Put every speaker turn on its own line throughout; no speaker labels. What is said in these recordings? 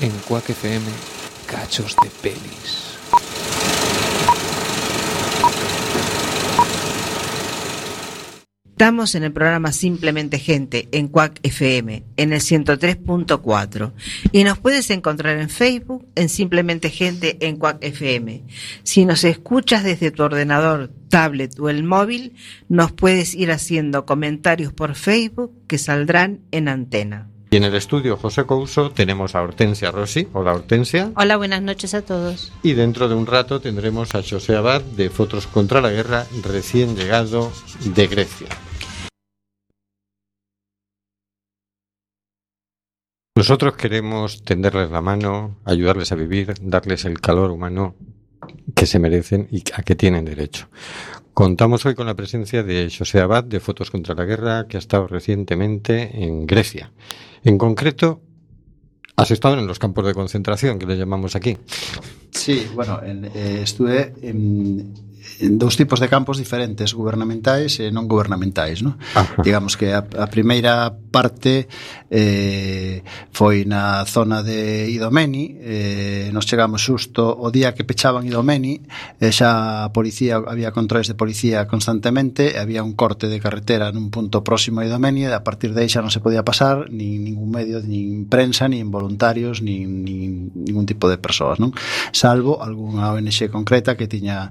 En Quack FM, cachos de pelis.
Estamos en el programa Simplemente Gente en Cuac FM en el 103.4 y nos puedes encontrar en Facebook en Simplemente Gente en Cuac FM. Si nos escuchas desde tu ordenador, tablet o el móvil, nos puedes ir haciendo comentarios por Facebook que saldrán en antena.
Y en el estudio José Couso tenemos a Hortensia Rossi. Hola Hortensia.
Hola, buenas noches a todos.
Y dentro de un rato tendremos a José Abad de Fotos contra la Guerra, recién llegado de Grecia. Nosotros queremos tenderles la mano, ayudarles a vivir, darles el calor humano que se merecen y a que tienen derecho. Contamos hoy con la presencia de José Abad de Fotos contra la Guerra, que ha estado recientemente en Grecia. En concreto, has estado en los campos de concentración, que le llamamos aquí.
Sí, bueno, en, eh, estuve en, en, dous tipos de campos diferentes, gubernamentais e non gubernamentais, no? Ajá. Digamos que a, a primeira parte eh, foi na zona de Idomeni, eh, nos chegamos xusto o día que pechaban Idomeni, eh, xa a policía, había controles de policía constantemente, e había un corte de carretera nun punto próximo a Idomeni, e a partir de aí xa non se podía pasar nin ningún medio, nin prensa, nin voluntarios, nin, nin ningún tipo de persoas, non? salvo algunha ONG concreta que tiña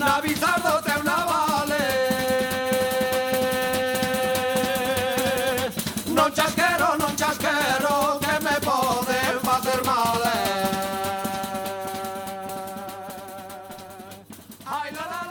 Na bizardo te una vale Non chasquero, non chasquero Que me pode facer mal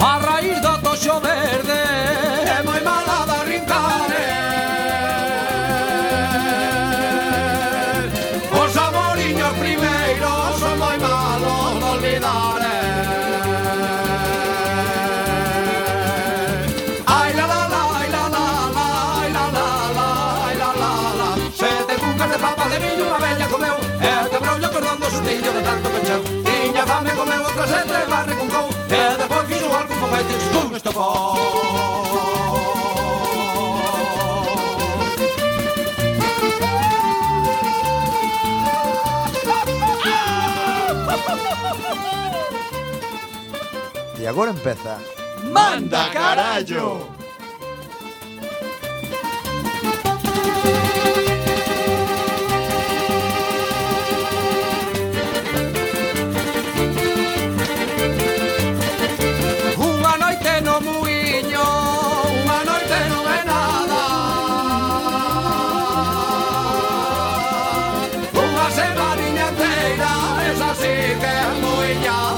A raíz do toxo verde É moi mala da rincare Os amoriños primeiros Son moi malos de olvidar eh. Ai la la la, ai la la la Ai la la la, ai la la la Sete cucas de papa de millo Unha bella comeu E te brollo cordón do sustillo De tanto pencheu Tiña fame comeu outra sete Barre con cou E depois fixo algún foguete Pum, estopou
E agora empeza
Manda carallo! Unha noite no muiño, unha noite no é nada Unha semaninha inteira, esa sí que é muiñada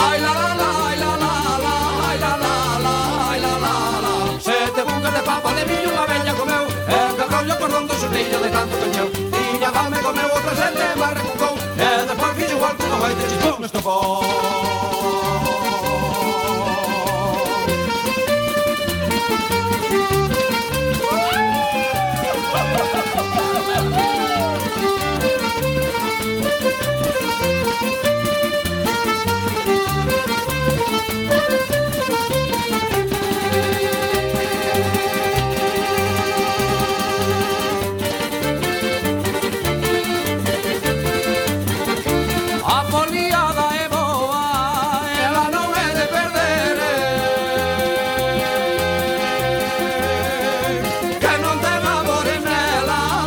Ai la la la, ai la la la, ai la la la, ai la la la Sete bucas de papa de millo unha bella comeu E de rollo cordón do surtillo de tanto cancheu Tiña fame comeu outra sete, mas recucou E despois fixo igual Eh, que unha baita chicou no estopou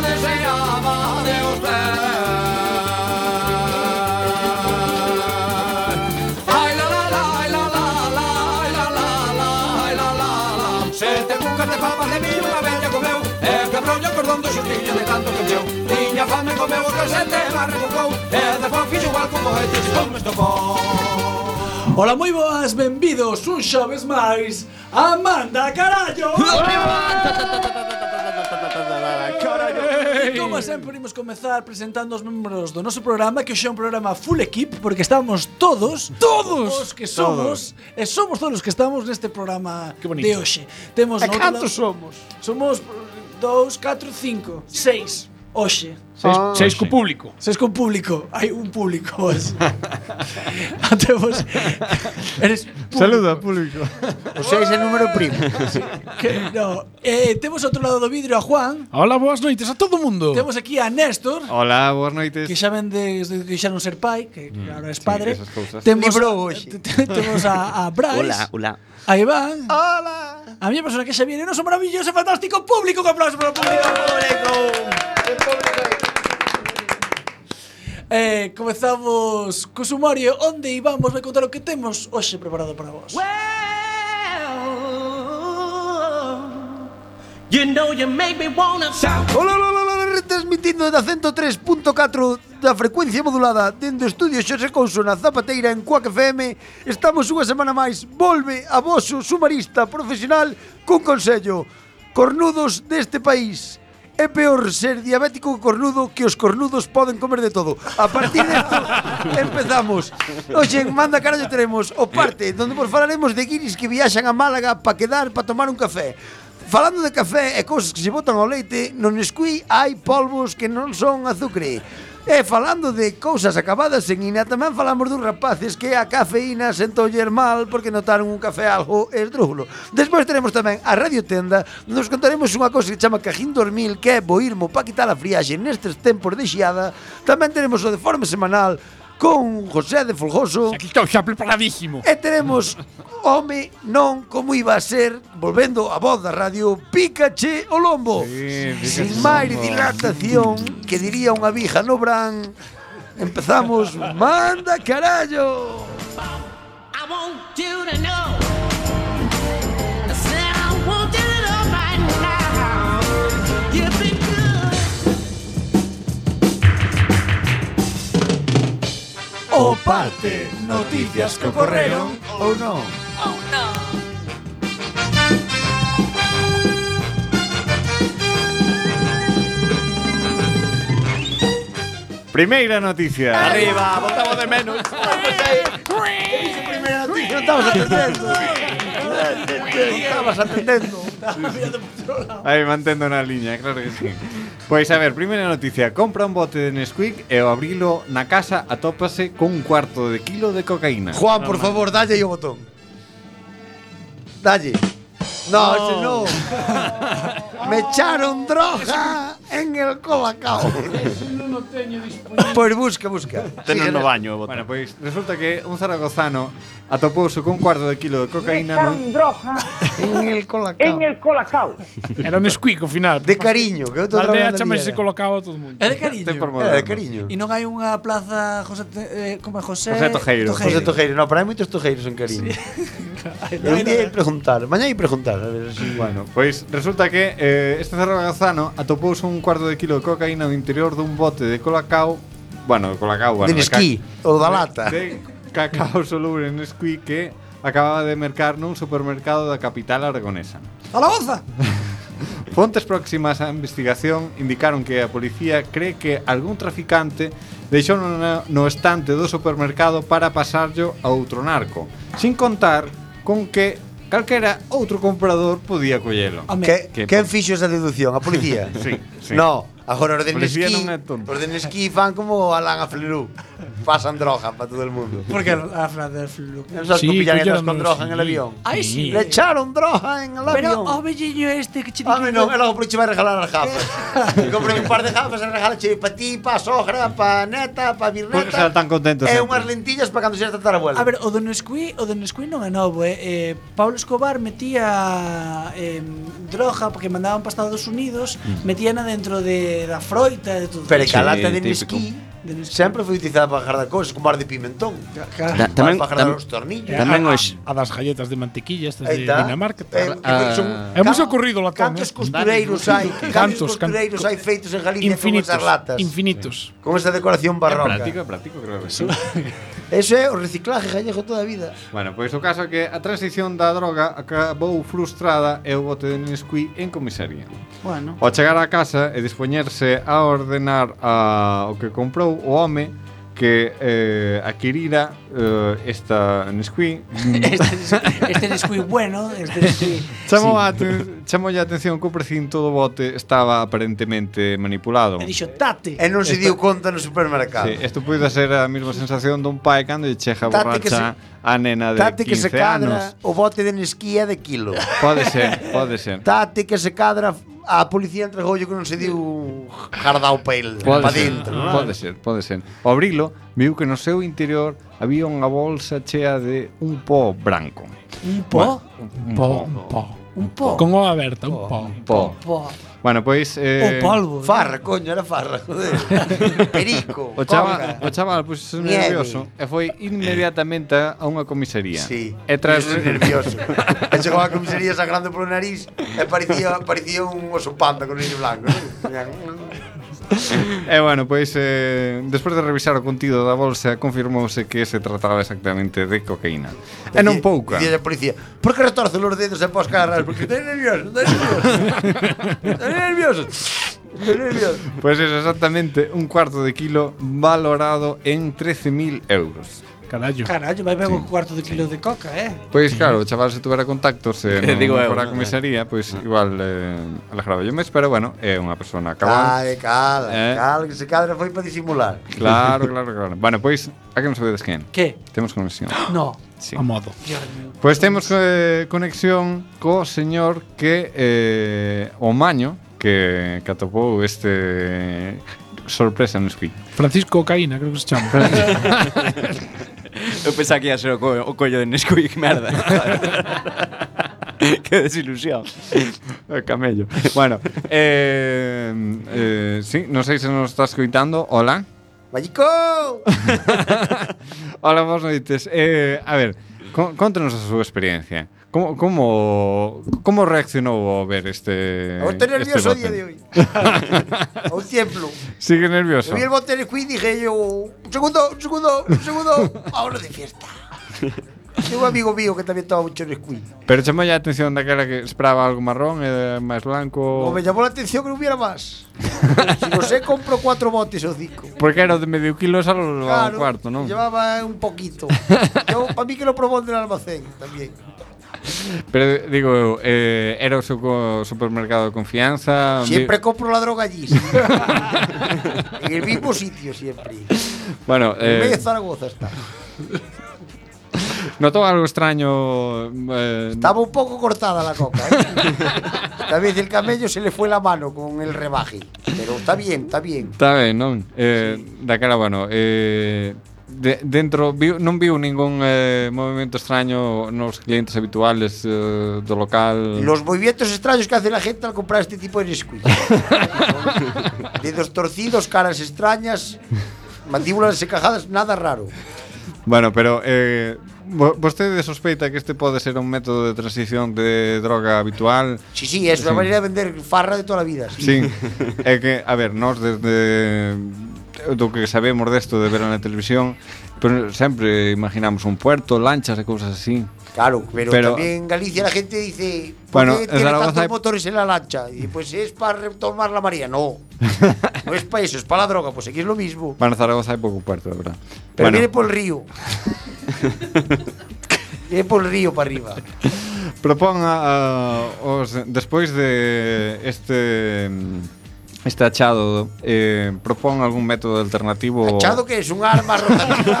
que usted. Ay, la, la, la, ay, la, la, la, ay, la, la, la, ay, la, la, la. Se te busca de papa de mí una vez ya comeu, e quebrou yo cordón do xustillo de tanto que meu. Tiña fame comeu o presente, mas recucou, e despois fixo igual como e como estopou.
Ola, moi boas, benvidos un xoves máis a Manda Carallo E Como sempre, imos comezar presentando os membros do noso programa Que hoxe é un programa full equip Porque estamos todos Todos Os que somos E somos todos os que estamos neste programa
Que bonito.
de hoxe Temos
E
no outro
cantos
lado-
somos?
Somos 2, 4, 5, 6 Hoxe
Seis,
Ah,
seis co público.
Seis con público, hai un público hoxe. Até vos Eres público.
Saluda, público.
O 6 é número primo.
Que, no. eh, temos outro lado do vidrio a Juan
Hola, boas noites a todo mundo.
Temos aquí a Néstor
Hola, boas noites.
Que xa vende desde que xa non ser pai Que que agora es
Mm. sí,
padre
esas cousas.
Temos,
Librou hoxe.
te- te- temos a, a Bryce
hola.
A Iván
Hola.
A miña persona que xa viene O noso maravilloso e fantástico público Que aplauso para o público Eh, comezamos co sumario onde Iván vos vai contar o que temos hoxe preparado para vos.
You know you make me wanna shout.
Ola, ola, ola, ola, retransmitindo da 103.4 da frecuencia modulada dende o estudio Xosé Couso na Zapateira en Cuac FM estamos unha semana máis volve a vosso sumarista profesional cun consello cornudos deste país É peor ser diabético que cornudo que os cornudos poden comer de todo. A partir desto empezamos. Hoxe en Manda Carallo teremos o parte donde vos falaremos de guiris que viaxan a Málaga para quedar para tomar un café. Falando de café e cousas que se botan ao leite, no Nesquí hai polvos que non son azucre. E falando de cousas acabadas en Ina, tamén falamos dos rapaces que a cafeína sentoller mal porque notaron un café algo esdrújulo. Despois teremos tamén a Radio Tenda, onde nos contaremos unha cousa que chama Cajín Dormil, que é boirmo pa quitar a friaxe nestes tempos de xiada. Tamén teremos o de forma semanal con José de Folgoso.
Aquí estou xa preparadísimo.
E teremos home non como iba a ser, volvendo a voz da radio, Pícache o Lombo.
Sí, Pícache
Sin
o
máis
Lombo.
dilatación, que diría unha vija no bran, empezamos Manda Carallo.
I want you to know. I said I want you to know right now. You've been good.
O parte, noticias que ocorreron ou non.
Oh no.
Primeira noticia.
Arriba, botamos de menos.
Primeira noticia, non estabas atendendo. Non estabas atendendo.
Aí mantendo na liña, claro que sí. Pois a ver, primeira noticia Compra un bote de Nesquik e ao abrilo na casa atópase con un cuarto de kilo de cocaína
Juan, por favor, dalle aí o botón. Dalle. No, ese no. Me echaron droga en el colacao.
Non o teño disponible.
Pois busca, busca.
Tenos no baño, botón.
Bueno, pois resulta que un zaragozano atopouse con un cuarto de kilo de cocaína no...
droga
En el colacao.
el colacao.
Era un squeak ao final.
De cariño, que outro
Na aldea
trabalhando
chamase
era.
colocaba a todo mundo.
É de cariño.
Ten por
Era
moderno.
de cariño.
E non hai unha plaza José Te- eh, como é José
José Tojeiro.
José Tojeiro, no, para hai moitos tojeiros en cariño. Eu un día hai preguntar, mañá hai preguntar, a ver si...
Bueno, pois resulta que eh, este zaragozano atopouse un cuarto de kilo de cocaína no interior dun bote de colacao Bueno, de colacao, bueno
de Nesquí, ou da lata.
De cacao soluble en Nesquik que acababa de mercar nun supermercado da capital aragonesa.
Zaragoza.
Fontes próximas á investigación indicaron que a policía cree que algún traficante deixou no, no estante do supermercado para pasarlo a outro narco, sin contar con que calquera outro comprador podía collelo.
Home,
Que,
Que-
quen fixo esa deducción? A policía?
Sí, sí.
No, agora os de
Policía
Nesquí,
non é tonto.
os de Nesquí fan como Alan Aflelu. Pasan droga para todo el mundo.
Porque a frase del flu.
Non sabes
Sí,
que pillanetas
collaron
con
no
droga en el
Nesquí.
avión.
Ai, sí.
Le echaron droga en el
Pero
avión.
o velliño este que che
A mí
dixo-
non, e logo porque vai regalar as gafas. E Comprei un par de gafas e regala che pa ti, pa sogra, pa neta, pa
Por que
birneta.
será tan contento
E
sempre?
unhas lentillas para cando seas tatarabuela.
A ver, o do Nesquí, o do Nesquí non é novo, eh? eh Pablo Escobar em, metía eh, droga porque mandaban para Estados Unidos, metíana dentro de de, da froita e de todo.
Pero que a lata de
típico.
mesquí sempre foi utilizada para agarrar cousas, como ar de pimentón. tamén,
Da- tamén-
para agarrar
tam-
os tornillos.
Tamén
Ah,
os a das galletas de mantequilla estas de
Aí tá.
Dinamarca.
Eh, que son-
É moi socorrido la
Cantos costureiros hai, cantos costureiros hai feitos en Galicia
infinitos,
con esas latas.
Infinitos.
Con esa decoración barroca.
É práctico, é práctico, creo que sí.
Eso é o reciclaje gallego toda a vida.
Bueno, pois o caso é que a transición da droga acabou frustrada e o bote de Nesquí en comisaría.
Bueno.
Ao chegar á casa e dispoñerse a ordenar a, o que comprou o home que eh, adquirira eh, esta Nesquí
Este descuido bueno, este descuido.
chamou, a aten- chamoulle a atención que o precinto do bote estaba aparentemente manipulado.
Dixo, tate.
E non se
Esta-
diu conta no supermercado.
Sí, isto puido ser a mesma sensación dun pai cando lle chega
Tate
borracha
que se-
a nena de
Tate
15
que se cadra
anos.
o bote de nesquía de kilo.
Pode ser, pode ser.
Tate que se cadra a policía entregoulle que non se diu jardao pa el,
Pode
pa
ser,
dentro. non?
pode ser, pode ser. Ao abrilo, viu que no seu interior había unha bolsa chea de un pó branco.
Un pó?
Un
Po,
pó.
un po.
Un pó.
Con o aberta, un po.
pó.
Pó.
Bueno, pois... Eh,
Farra, coño, era farra, joder. Perico.
O chaval, o chaval puxo
Nieve.
nervioso e foi inmediatamente a unha comisaría.
Sí,
E tras...
Yo soy nervioso. E chegou a comisaría sangrando polo nariz e parecía, parecía un oso panda con niño blanco. non?
E bueno, pois eh, despois de revisar o contido da bolsa confirmouse que se trataba exactamente de cocaína. E non pouca.
Dicía a policía, por que retorce os dedos e pos carras? Porque estou nervioso, estou nervioso. Estou nervioso. Estou nervioso.
Pois é exactamente un cuarto de kilo valorado en 13.000 euros.
Carallo.
Carallo, vai ben un cuarto de kilo de coca, eh?
Pues,
Pois claro, o chaval se tuvera contactos eh, non
Digo eu,
fora a
non?
comisaría, pois igual eh, alegraba yo mes, pero bueno, é unha persona cabal.
Cale, cala,
Eh.
cala, que se cadra foi para disimular.
Claro, claro, claro. Bueno, pois, a que non sabedes quen?
Que?
Temos conexión.
No.
Sí.
A modo.
Pois temos eh, conexión co señor que eh, o maño que, que atopou este eh, sorpresa no squid.
Francisco Caína, creo que se chama.
Eu pensaba que ia ser o, co o collo de Nesquik, merda. que desilusión.
O camello. Bueno, eh, eh, sí, non sei se nos estás coitando. Hola.
Vallico!
Oh! Hola, vos noites. Eh, a ver, con, contanos a súa experiencia. Como, como, como reaccionou ao ver este
Eu estou nervioso o
este
día de
bote?
hoy. O templo.
Sigue nervioso.
Eu vi el bote de Queen y dije yo, un segundo, un segundo, un segundo, ahora de fiesta. Tengo un amigo mío que también estaba mucho en el Queen.
Pero chamou a atención daquela que esperaba algo marrón e máis
O
blanco.
me llamó la atención que no hubiera más. Si no sé, compro cuatro botes o cinco.
Porque era o de medio kilo, xa lo levaba
Claro,
un cuarto, non?
llevaba un poquito. Yo, para mí que lo probó en el almacén también.
Pero digo, eu, eh, era o seu co- supermercado de confianza.
Siempre
vi-
compro la droga allí. sí. en el mismo sitio siempre.
Bueno,
En medio de
eh,
Zaragoza está.
notou algo extraño eh,
Estaba un poco cortada la coca. ¿eh? Tal vez el camello se le fue la mano con el rebaje. Pero está bien, está bien.
Está ben, non? Eh, Daquela, bueno, eh, de, dentro viu, non viu ningún eh, movimento extraño nos clientes habituales eh, do local.
Los movimientos extraños que hace la gente al comprar este tipo de Nesquik. Dedos torcidos, caras extrañas, mandíbulas encajadas, nada raro.
Bueno, pero eh, vo- vostede sospeita que este pode ser un método de transición de droga habitual?
Sí, sí, es una manera de vender farra de toda la vida. sí.
Sí, é que, a ver, nós desde do que sabemos desto de ver na televisión, pero sempre imaginamos un puerto, lanchas e cousas así.
Claro, Pero, también en Galicia la gente dice, ¿por
Bueno,
qué
en
tiene
Zaragoza
tantos
hay-
motores en la lancha? Y pues es para retomar la marea. No, no es para eso, es para la droga. Pues aquí es lo mismo.
Bueno, en Zaragoza hai pouco puerto, de verdad.
Pero
bueno,
viene por el río. viene por el río para arriba.
propón a, a, os, despois de este este achado eh, propón algún método alternativo
Echado que es un arma rotativa.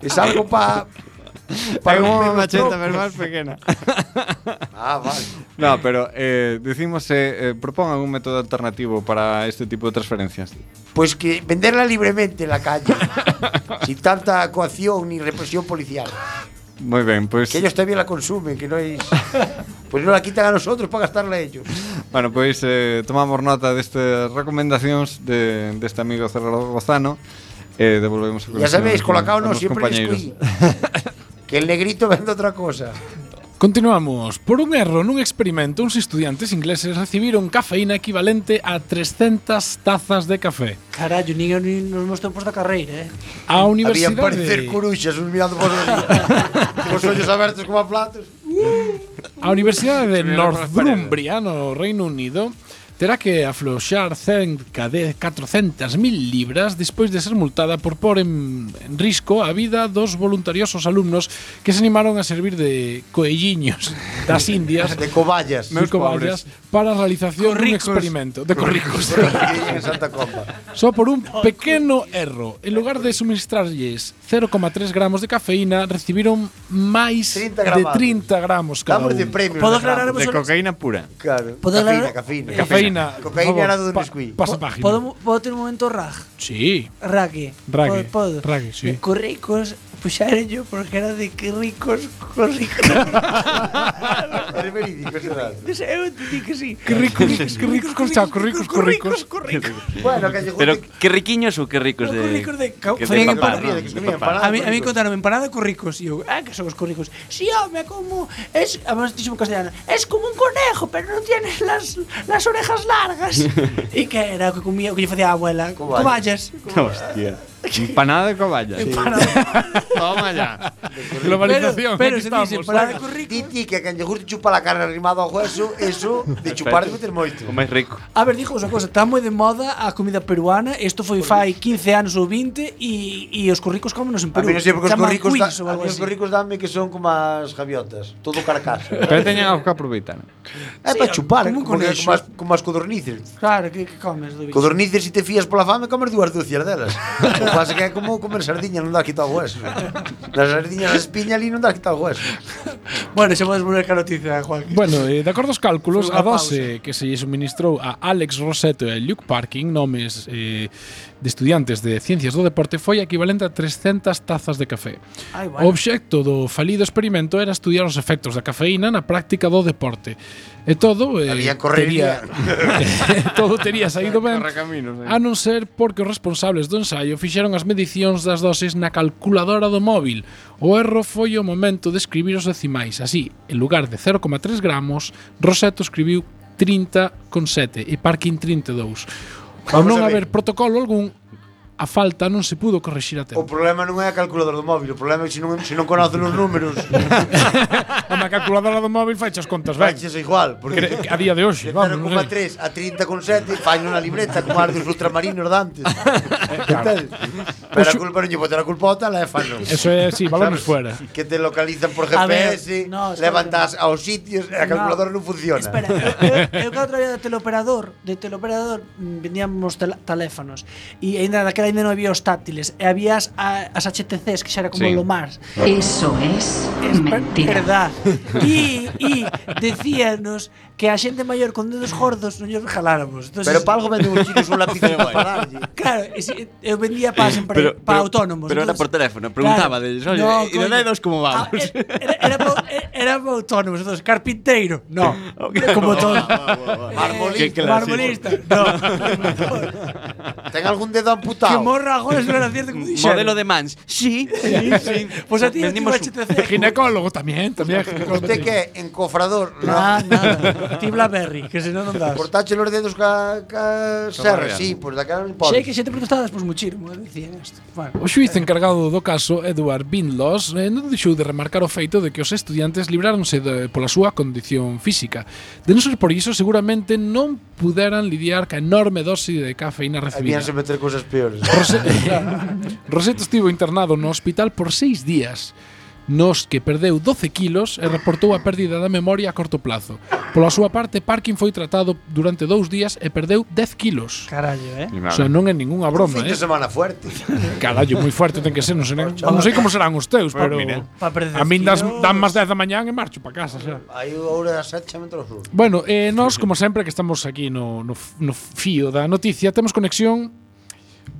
es algo para.
Hay como una macheta, pero más pequeña.
Ah, vale.
No, pero eh, decimos eh, eh, propón algún método alternativo para este tipo de transferencias.
Pues que venderla libremente en la calle. sin tanta coacción ni represión policial.
Moi ben, pois
pues Que ellos también la consumen, que no es. Pues no la quitan a nosotros para gastarla a ellos.
Bueno, pois eh, tomamos nota destas recomendacións de, deste amigo Cerro Gozano e eh, devolvemos a
Ya sabéis,
conexión
Colacao no
aos
siempre les
compañeiros.
cuí. Que el negrito vende otra cosa.
Continuamos. Por un erro nun experimento, uns estudiantes ingleses recibiron cafeína equivalente a 300 tazas de café.
Carallo, nin, eu nin nos meus tempos da carreira, eh?
A universidade...
Había parecer curuxas uns mirando por os Os ollos abertos como a platos.
A Universidade de
Primeiro polas
Northumbria, no Reino Unido, terá que afloxar cerca de 400.000 libras despois de ser multada por pôr en, en risco a vida dos voluntariosos alumnos que se animaron a servir de coelliños das Indias
De cobayas.
de cobayas para a realización dun experimento de corricos.
en Santa Comba.
Só por un pequeno erro. En lugar de suministrarlles 0,3 gramos de cafeína, recibiron máis de
gramados.
30 gramos cada
Damos de
un.
premios Podo de gramos. aclarar
De cocaína pura.
Claro.
Podo
Cafeína,
aclarar-
cafeína.
Eh, Cafeína, por
Cocaína
favor.
era do
Pa-
Nesquí.
pasa página.
Podo, podo ter un momento rag?
Sí.
Rague.
Rague,
Podo.
rague, sí.
Corricos, puxaren yo porque pues era de que ricos, corricos.
É verídico, é verdade.
Eu te digo que sí.
Que ricos, que ricos, con chao, que ricos, que ricos.
Bueno, que lle
Pero
guste.
qué riquiños o qué ricos de.
Corricos de...
que de
farían
papá,
empanada.
¿no?
de que comían
De papá.
empanada.
A mí, a mí
pues.
corricos.
contaron empanada con ricos. Y yo, ah, que somos corricos. Sí, hombre, como. Es, además, dicho en castellano, es como un conejo, pero no tienes las, las orejas largas. y que era o que comía, o que yo hacía a abuela. Cobayas.
Hostia. Empanada de cobayas. Toma ya.
Globalización,
Pero- pero
aquí
se dice,
estamos.
para-
Titi, que a quen lle guste chupar a carne arrimada ao hueso, eso de chupar debe ter moito.
O máis rico.
A ver, dijo una cosa, está moi de moda a comida peruana, isto foi fai 15 anos ou 20 e, e os corricos cómenos en
A
Perú.
mí non sei porque os
Chaman
corricos, da,
cuis ou
a
algo
mí os
así.
corricos danme que son como as gaviotas, todo carcaso.
Pero teñen algo que aproveitar.
É para chupar,
como un
como, que-
conexo.
como, as, como as codornices.
Claro, que, que comes do bicho?
Codornices, se te fías pola fame, comes dúas dúcias delas. o que pasa é que é como comer sardiña, non dá quitado o hueso. Las sardiñas, as espiña ali non dá quitado o hueso.
Bueno, xa podes volver ca noticia, Juan.
Bueno, eh, de acordo aos cálculos,
Foi unha
a dose que se lle suministrou a Alex Roseto e Luke Parkin, nomes eh, de estudiantes de Ciencias do Deporte, foi equivalente a 300 tazas de café.
Ai, bueno.
O obxecto do falido experimento era estudiar os efectos da cafeína na práctica do deporte. E todo eh,
Había correría.
tería- todo tería saído ben,
Correcaminos, eh.
a non ser porque os responsables do ensaio fixeron as medicións das doses na calculadora do móvil. O erro foi o momento de escribir os decimais. Así, en lugar de 0,3 gramos, Roseto escribiu 30,7 e Parkin 32. Ao
Vamos
non
a ver.
haber protocolo algún, a falta non se pudo corrixir
O
a tempo.
problema non é a calculadora do móvil, o problema é que se non, se non conocen os números,
A na calculadora do móvil fai as contas ben.
faixas igual. Porque
Cre- A día de hoxe,
De
vamos. non sei.
0,3 a 30,7 faino na libreta como as dos ultramarinos de antes. Entende? Pero a culpa non lle botar a culpa ao tal, é fano.
Eso é, sí, balones
Sabes?
fuera.
Que te localizan por
A ver,
GPS,
no, espera.
levantas aos sitios, e a calculadora non funciona.
Espera, eu, eu que outro día de teleoperador, de teleoperador mm, vendíamos tel teléfonos e aínda daquela aínda non había os táctiles, e había as, a- as HTCs que xa era como
Sí.
sí. lo más.
Eso es
Es ver-
mentira.
verdad. E e decíanos que a xente maior con dedos gordos non lles regaláramos. Entonces,
Pero para algo venden uns chicos un lápiz para darlle. Eh,
Claro, e si- eu vendía para sempre
Pero-
para
pero-
autónomos.
pero era por teléfono, preguntaba deles, "Oye, ¿y de
coño.
dedos cómo vamos?"
Ah, era- era, era, pa- e, era para autónomos, entonces, carpinteiro, no. Como todo.
Marmolista.
Eh, Marmolista, no.
Ten algún dedo
Que
amputado.
morra agora non era cierto como dixeron.
Modelo de mans. Sí, sí, sí.
Pois a ti non
Vendimos
tivo
un-
HTC.
Ginecólogo tamén, tamén. ginecólogo.
Usted que é Este encofrador,
Ah,
no.
nada. Ti Blaberry, que se non non das.
Cortache los dedos ca, ca serra,
Correa.
sí, pues pois daquela non
Sei
pode.
que xente protestadas pois muchirmo, dicían isto. Bueno.
O xuiz encargado do caso, Edward Bindlos, eh, non deixou de remarcar o feito de que os estudiantes libráronse de, pola súa condición física. De non ser por iso, seguramente non puderan lidiar ca enorme dose de cafeína recibida.
Habíanse meter cousas peores.
Rose- Roseto estivo internado no hospital por seis días nos que perdeu 12 kilos e reportou a pérdida da memoria a corto plazo. Pola súa parte, Parkin foi tratado durante dous días e perdeu 10 kilos.
Carallo, eh.
O sea, non é ningunha broma,
Fin de
eh?
semana fuerte.
Carallo, moi fuerte ten que ser, non sei, non non sei como serán os teus,
Pues
pero
mira.
Pa perder
a min das,
kilos.
dan máis 10 da mañán e marcho para casa, xa.
Aí o hora das 7 xa me entrou o sur.
Bueno, eh, nós, como sempre, que estamos aquí no, no, f- no fío da noticia, temos conexión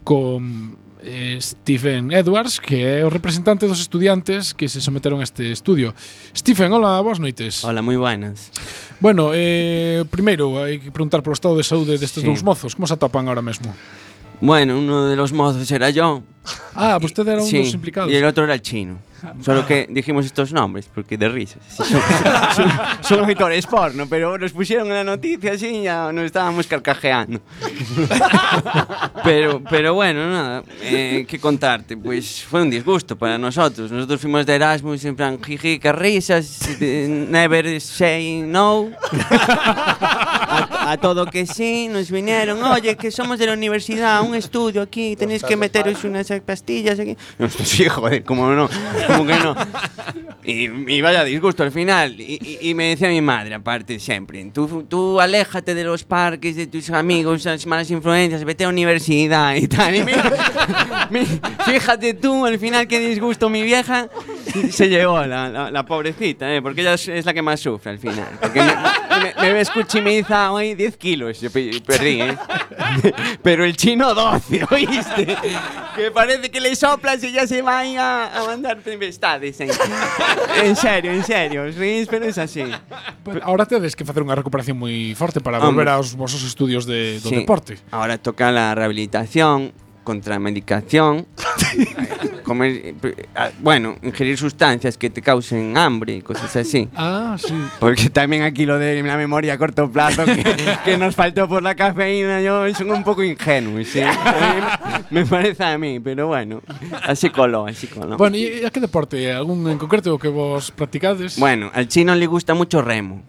con eh, Stephen Edwards, que é o representante dos estudiantes que se someteron a este estudio. Stephen, hola, boas noites.
Hola, moi
Ah.
buenas.
Bueno, eh, primeiro, hai que preguntar polo estado de saúde destes
Sí.
dous mozos. Como se atopan ahora mesmo?
Bueno, uno de los mozos era yo.
Ah,
pues
vostede era un
Sí,
dos implicados.
Y el otro era el chino. Solo que dijimos estos nombres porque de risas. Son, son, son actores porno, pero nos pusieron en la noticia así y ya nos estábamos carcajeando. Pero, pero bueno, nada, eh, ¿qué contarte? Pues fue un disgusto para nosotros. Nosotros fuimos de Erasmus en plan, jiji, qué risas, eh, never say no. A, a todo que sí, nos vinieron, oye, que somos de la universidad, un estudio aquí, tenéis que meteros unas pastillas aquí. Nosotros, sí, joder, como no, como que no. Y, y vaya disgusto al final. Y, y- y me decía mi madre, aparte, siempre, tú, tú aléjate de los parques, de tus amigos, las malas influencias, vete a la universidad y tal. Y mira, mi- fíjate tú, al final, qué disgusto mi vieja se llevó, la, la- la pobrecita, ¿eh? porque ella es, es la que más sufre al final. Porque me, me, me ves cuchimiza hoy 10 kilos, yo pe- perdí, ¿eh? pero el chino 12, ¿oíste? Que parece que le soplas y ya se va ahí a, a mandar tempestades. ¿eh? En serio, en serio, os reís, pero es así.
Pero Ahora tedes que facer unha recuperación moi forte para volver
Hombre.
aos vosos estudios de, do
Sí.
deporte.
Ahora toca la rehabilitación, contramedicación, comer, eh, pr- ah, bueno, ingerir sustancias que te causen hambre y cosas así.
Ah, sí.
Porque también aquí lo de la memoria a corto plazo que, que nos faltó por la cafeína, yo son un poco ingenuos, ¿sí? A mí Me parece a mí, pero bueno, así coló, así coló.
Bueno, e e a que deporte? Algún en concreto que vos practicades?
Bueno, al chino le gusta mucho remo.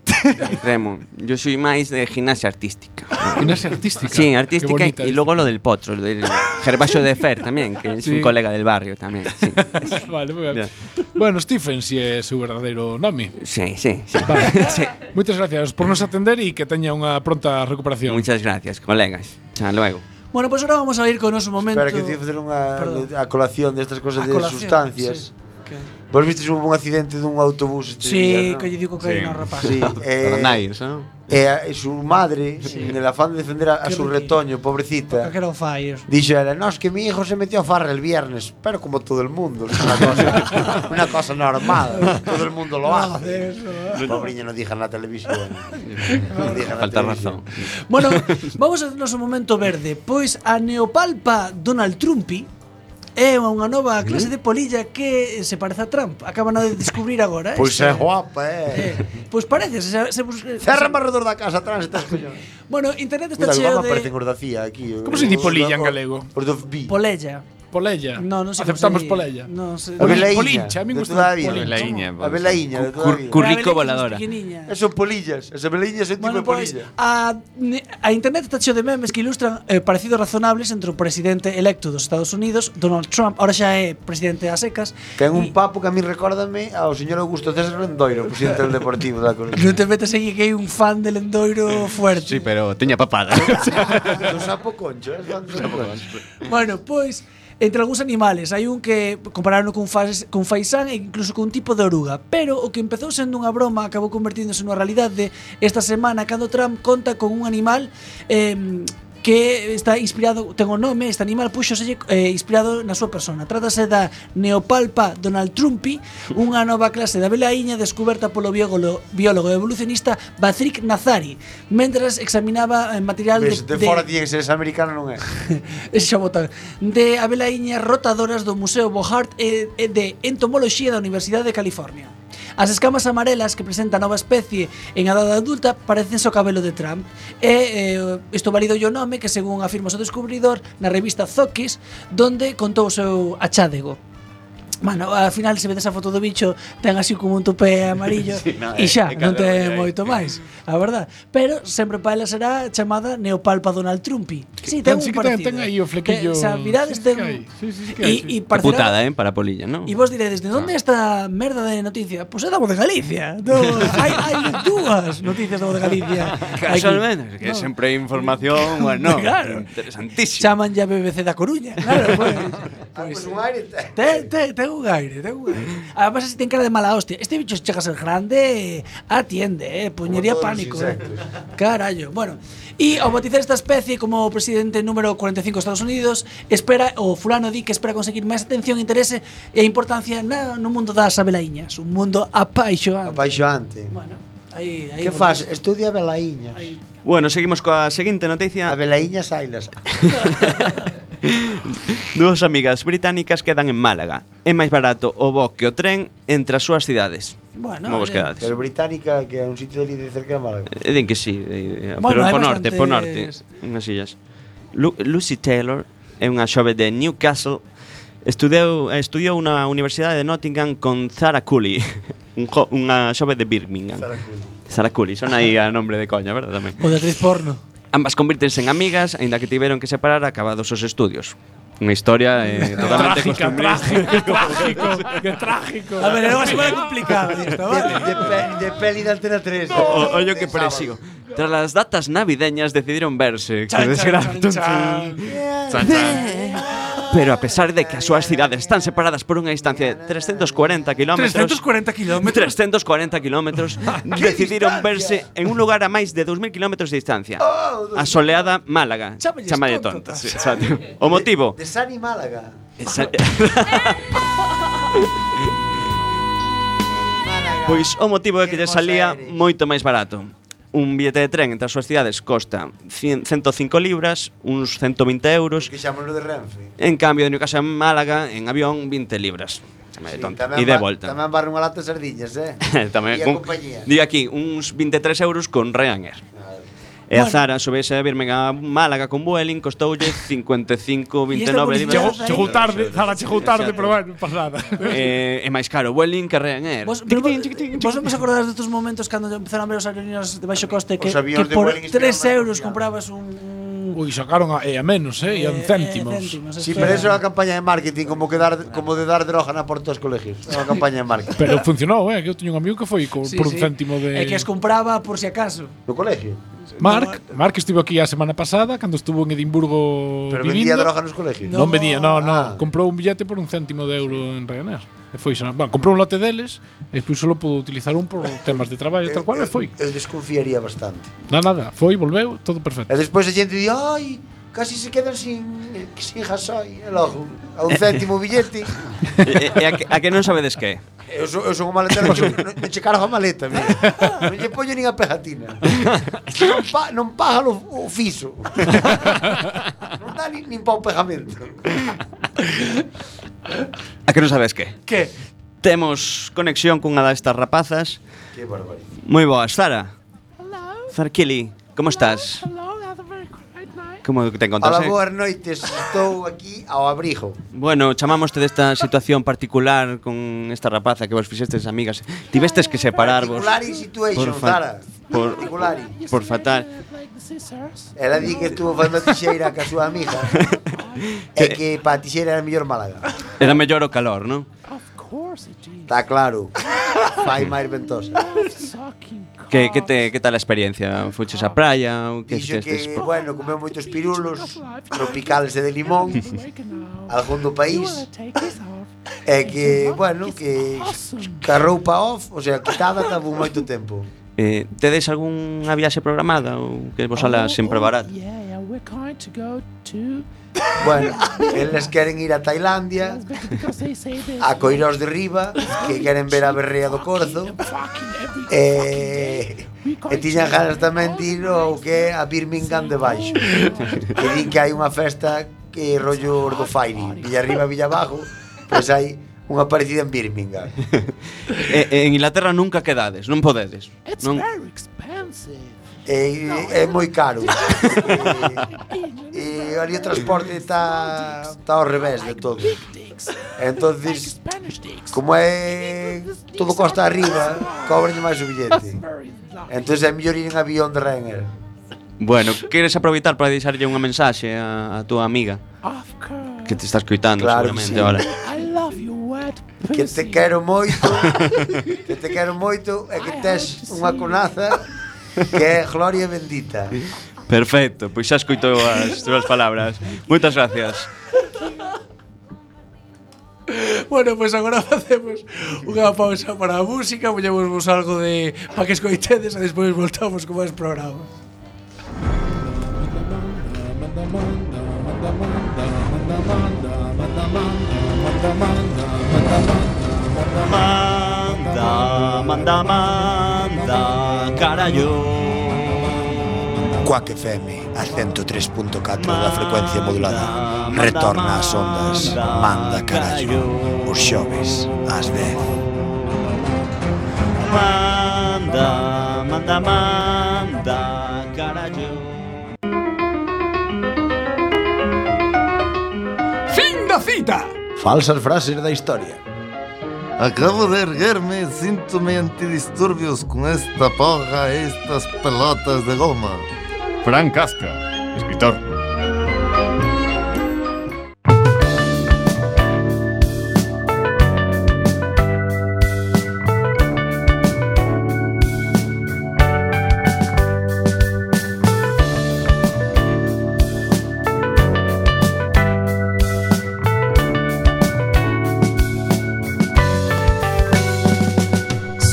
Remo. Yo soy más de gimnasia artística.
Gimnasia artística.
Sí,
Qué
artística
bonita
y luego lo del potro, lo del Gervasio de Fer también, que es
Sí.
un colega del barrio también. Sí,
vale, moi ben. Bueno, Stephen, si é seu verdadeiro nome.
sí, sí. sí.
Vale. Moitas gracias por nos atender e que teña unha pronta recuperación.
Muchas gracias, colegas. Hasta luego.
Bueno, pues ahora vamos a ir con un momento.
Espera, que te facer unha a colación destas
A
cosas de
colación,
sustancias.
sí. Que-
Vos vistes un un accidente dun autobús este
Sí,
día,
que lle dio cocaína ao rapaz.
Sí, eh,
Paranaires,
¿no?
E a e su madre, en el afán de defender a, a
Qué
su
riquillo.
retoño, pobrecita.
Que era o fallo.
Dixo ela, no, es que mi hijo se metió a farra el viernes, pero como todo el mundo, es una cosa, una cosa normal, todo el mundo lo hace. Pobriño no dije en la televisión. No dije en la
Falta
televisión.
razón.
Bueno, vamos ao noso momento verde Pois a neopalpa Donald Trumpi É unha nova clase de polilla que se parece a Trump Acaban de descubrir agora
Pois é
esta-
guapa, eh.
Pois parece se, se bus-
Cerra o redor da casa atrás estas coñas.
Bueno, internet está
Cuidado, que
cheo
vamos aparecen
de
os da CIA aquí. eh,
Como se di polilla en
galego?
Os do FBI.
polella
Polella.
No, non sei como
Aceptamos
se di.
polella.
Non sei.
A Belaíña,
Polincha, a mí
de
gusta
toda a
a
vida.
Polincha.
A Belaíña, de toda a vida.
currico voladora.
Eso polillas, esa Belaíña é un tipo de
Bueno, pois
polilla.
a, ne- a internet está cheo de memes que ilustran eh, parecidos razonables entre o presidente electo dos Estados Unidos, Donald Trump, ahora xa é presidente a secas,
Ten un papo que a mí recórdame ao señor Augusto César Rendoiro, presidente del Deportivo da Coruña.
Non te metas aí que hai un fan del Endoiro fuerte.
Sí, pero teña papada.
Do sapo concho, eh? Do sapo concho.
Bueno, pois entre algúns animales hai un que compararon cun, fas, cun faisán e incluso cun tipo de oruga pero o que empezou sendo unha broma acabou convertíndose nunha realidade esta semana cando Trump conta con un animal eh, que está inspirado, ten o nome, este animal puxoselle eh, inspirado na súa persona. Trátase da Neopalpa Donald Trumpi, unha nova clase da velaíña descoberta polo biólogo, biólogo evolucionista Batric Nazari, mentras examinaba eh, material
Ves,
de,
de fora tiña que ser ese americano non é.
Ese xa botar De abelaiñas rotadoras do Museo Bohart e, e de Entomoloxía da Universidade de California As escamas amarelas que presenta a nova especie en a edade adulta parecense ao cabelo de Trump e eh, isto valido o nome que según afirma o seu descubridor na revista Zokis donde contou o seu achádego Bueno, al final se ve esa foto do bicho ten así como un topé amarillo
Sí, no,
e
é-
xa,
é
non ten
calor, é.
moito máis, a verdad. Pero sempre para ela será chamada Neopalpa Donald Trumpi. Sí, ten
Ten- sí que
un
ten-
parecido.
ten aí o flequillo.
Ten, xa, mirades
Sí, sí
ten...
que hai. Sí, sí, sí que hai, sí. Ah. Que
e, e
Qué
parecerá-
putada, ¿eh? Para polilla, ¿no?
E vos diredes, de onde esta merda de noticia? Pois pues é da voz de Galicia. Do, hai, hai dúas noticias da voz de Galicia. aquí.
Casualmente, que siempre hay información, bueno,
Claro.
interesantísima.
Chaman ya BBC da Coruña. Claro, pues. pois.
Pois un aire.
Ten, ten, ten tengo gaire, tengo gaire. Además, así ten cara de mala hostia. Este bicho si llegas al grande, atiende, eh. Puñería
todos los
pánico, eh.
insectos.
Carallo. Bueno, y ao bautizar esta especie como presidente número 45 de Estados Unidos, espera o fulano di que espera conseguir máis atención, interese e importancia na, no mundo das abelaiñas, un mundo apaixoante.
Apaixoante.
Bueno, aí, aí
Que faz? Estudia Belaíñas.
Bueno, seguimos coa seguinte noticia.
A Belaíñas Ailas.
Dúas amigas británicas quedan en Málaga. É máis barato o bo que o tren entre as súas cidades. Bueno,
eh,
eh, Como vos quedades?
Pero británica, que é un sitio ali de cerca de Málaga.
Eh, Din que sí, eh,
Bueno,
pero
hai
po norte, po norte,
bastantes-
unhas illas. Lu Lucy Taylor é unha xove de Newcastle. Estudeu, eh, estudiou na Universidade de Nottingham con Zara Cooley, un jo, unha xove de Birmingham.
Zara
Cooley. Zara Cooley, son aí a nombre de coña, verdad tamén.
O de atriz porno.
Ambas convírtense en amigas, aínda que tiveron que separar acabados os estudios. Unha historia eh, totalmente
Trágica,
costumbrista.
trágico, que trágico.
A ver, era unha semana complicada esta, vale?
De, pe- de peli de Antena 3.
O- Ollo que presigo. Tras las datas navideñas decidiron verse. Que
Chan, chan,
desgracia. Chan, chan. Pero a pesar de que as súas cidades están separadas por unha distancia de 340 kilómetros
340 kilómetros.
340 kilómetros decidiron verse en un lugar a máis de 2000 kilómetros de distancia. A soleada
Oh,
Málaga.
Chámalles
Chamalle
tontas.
tontas. sí, exacto. O motivo?
De Sani Málaga.
Esa- Pois o motivo é que lle salía moito máis barato. Un billete de tren entre as súas cidades costa 100, 105 libras, uns 120 euros.
Que chamalo de Renfe.
En cambio, de Newcastle a Málaga, en avión, 20 libras. Chamalle tonta. E de
va-
volta.
Tamén barre unha lata de sardillas, eh?
tamén
E a
un-
compañía.
Di aquí, uns 23 euros con Ryanair. E a
Bueno.
Zara, soubese a Birmingham a Málaga con Vueling, costoulle e 55, 29 libras.
Chegou, chegou tarde, Zara, chegou tarde,
Exacto.
pero bueno, non pasa nada.
Eh, é máis caro Vueling que Ryanair.
Vos, pero, vos non vos acordades de estos momentos cando empezaron a ver os aerolíneas de baixo coste que,
Os avións
que
de
por
Vueling
3 euros comprabas un...
Ui, sacaron a, e a menos, eh, e a céntimos.
Sí, pero eso é unha campaña de marketing como que dar como de dar droga na porta dos colegios. É unha campaña de marketing.
Pero funcionou, eh, que eu teño un amigo que foi co,
Sí,
por un
sí.
céntimo de
E que as compraba por si acaso.
No colegio.
Mark, Mark estivo aquí a semana pasada cando estuvo en Edimburgo
Pero
vivindo.
vendía droga nos colegios. Ah.
Non vendía, no, no, comprou un billete por un céntimo de euro en Ryanair. E foi, xa- bueno, comprou un lote deles, e despois solo pudo utilizar un por temas de traballo e tal cual, e foi.
Eu Eh, desconfiaría bastante.
Nada, nada, foi, volveu, todo perfecto.
E despois a xente di, "Ai, casi se quedan sin sin jasoi." E logo, a un céntimo billete.
e, e a, que, a que non sabedes que? é?
Eu son, eu son un maletero, non che- non non che cargo a maleta, mira. Non lle poño nin a pegatina. Non, pa, non paga o, o fiso. Non dá nin, nin pa o pegamento.
A que non sabes que?
Que?
Temos conexión cunha destas rapazas.
Que barbaridade.
Moi boas, Zara. Zarkili, como estás? Como te encontras?
Ola,
eh?
boas noites. Estou aquí ao abrigo.
Bueno, chamámoste desta situación particular con esta rapaza que vos fixestes amigas. Tivestes que separarvos.
Particulari situation,
por fa-
Zara.
Por,
Particulari.
por fatal.
Ela di que estuvo facendo tixeira ca súa amiga. e que pa tixeira era mellor Málaga.
Era mellor o calor, non?
Está claro. Fai máis ventosa.
Que, que, te, que tal a experiencia? Fuches á praia ou que
Dixo
fixestes?
que, bueno, comeu moitos pirulos tropicales e de limón algún do país e que, bueno, que ca roupa off, o sea, quitada tabu moito tempo.
Eh, tedes algunha viaxe programada ou que vos
Oh,
sala sempre barato?
Bueno, eles queren ir a Tailandia, a Coirós de Riba, que queren ver a Berrea do Corzo, e, e tiñan ganas tamén de ir ao que é a Birmingham de Baixo. E din que hai unha festa que rollo os do Fairy, Villa Arriba, Villa Abajo, pois hai unha parecida en Birmingham.
Eh, eh, en Inglaterra nunca quedades, non podedes. Non,
E, Eh, é moi caro. Eh, E, e ali o transporte está está ao revés de todo. Entonces, como é todo costa arriba, cobranlle máis o billete. Entonces é mellor ir en avión de Ryanair.
Bueno, queres aproveitar para deixarlle unha mensaxe a, a túa amiga? Que te estás coitando
Claro que
seguramente
sí.
ahora.
Que te quero moito, que te quero moito e que tes unha conaza que é gloria bendita.
Perfecto, pois xa escoito as túas palabras. Moitas gracias.
Bueno, pois pues agora facemos unha pausa para a música, poñemos vos algo de para que escoitedes e despois voltamos con máis programa.
Manda, manda, manda, carallo.
Cuac FM a 103.4 da frecuencia modulada Retorna ás ondas Manda carallo Os xoves ás 10
Manda, manda, manda, carallo.
Fin da cita.
Falsas frases da historia
Acabo de erguerme, síntome antidisturbios con esta porra, estas pelotas de goma.
Frank Casca, escritor.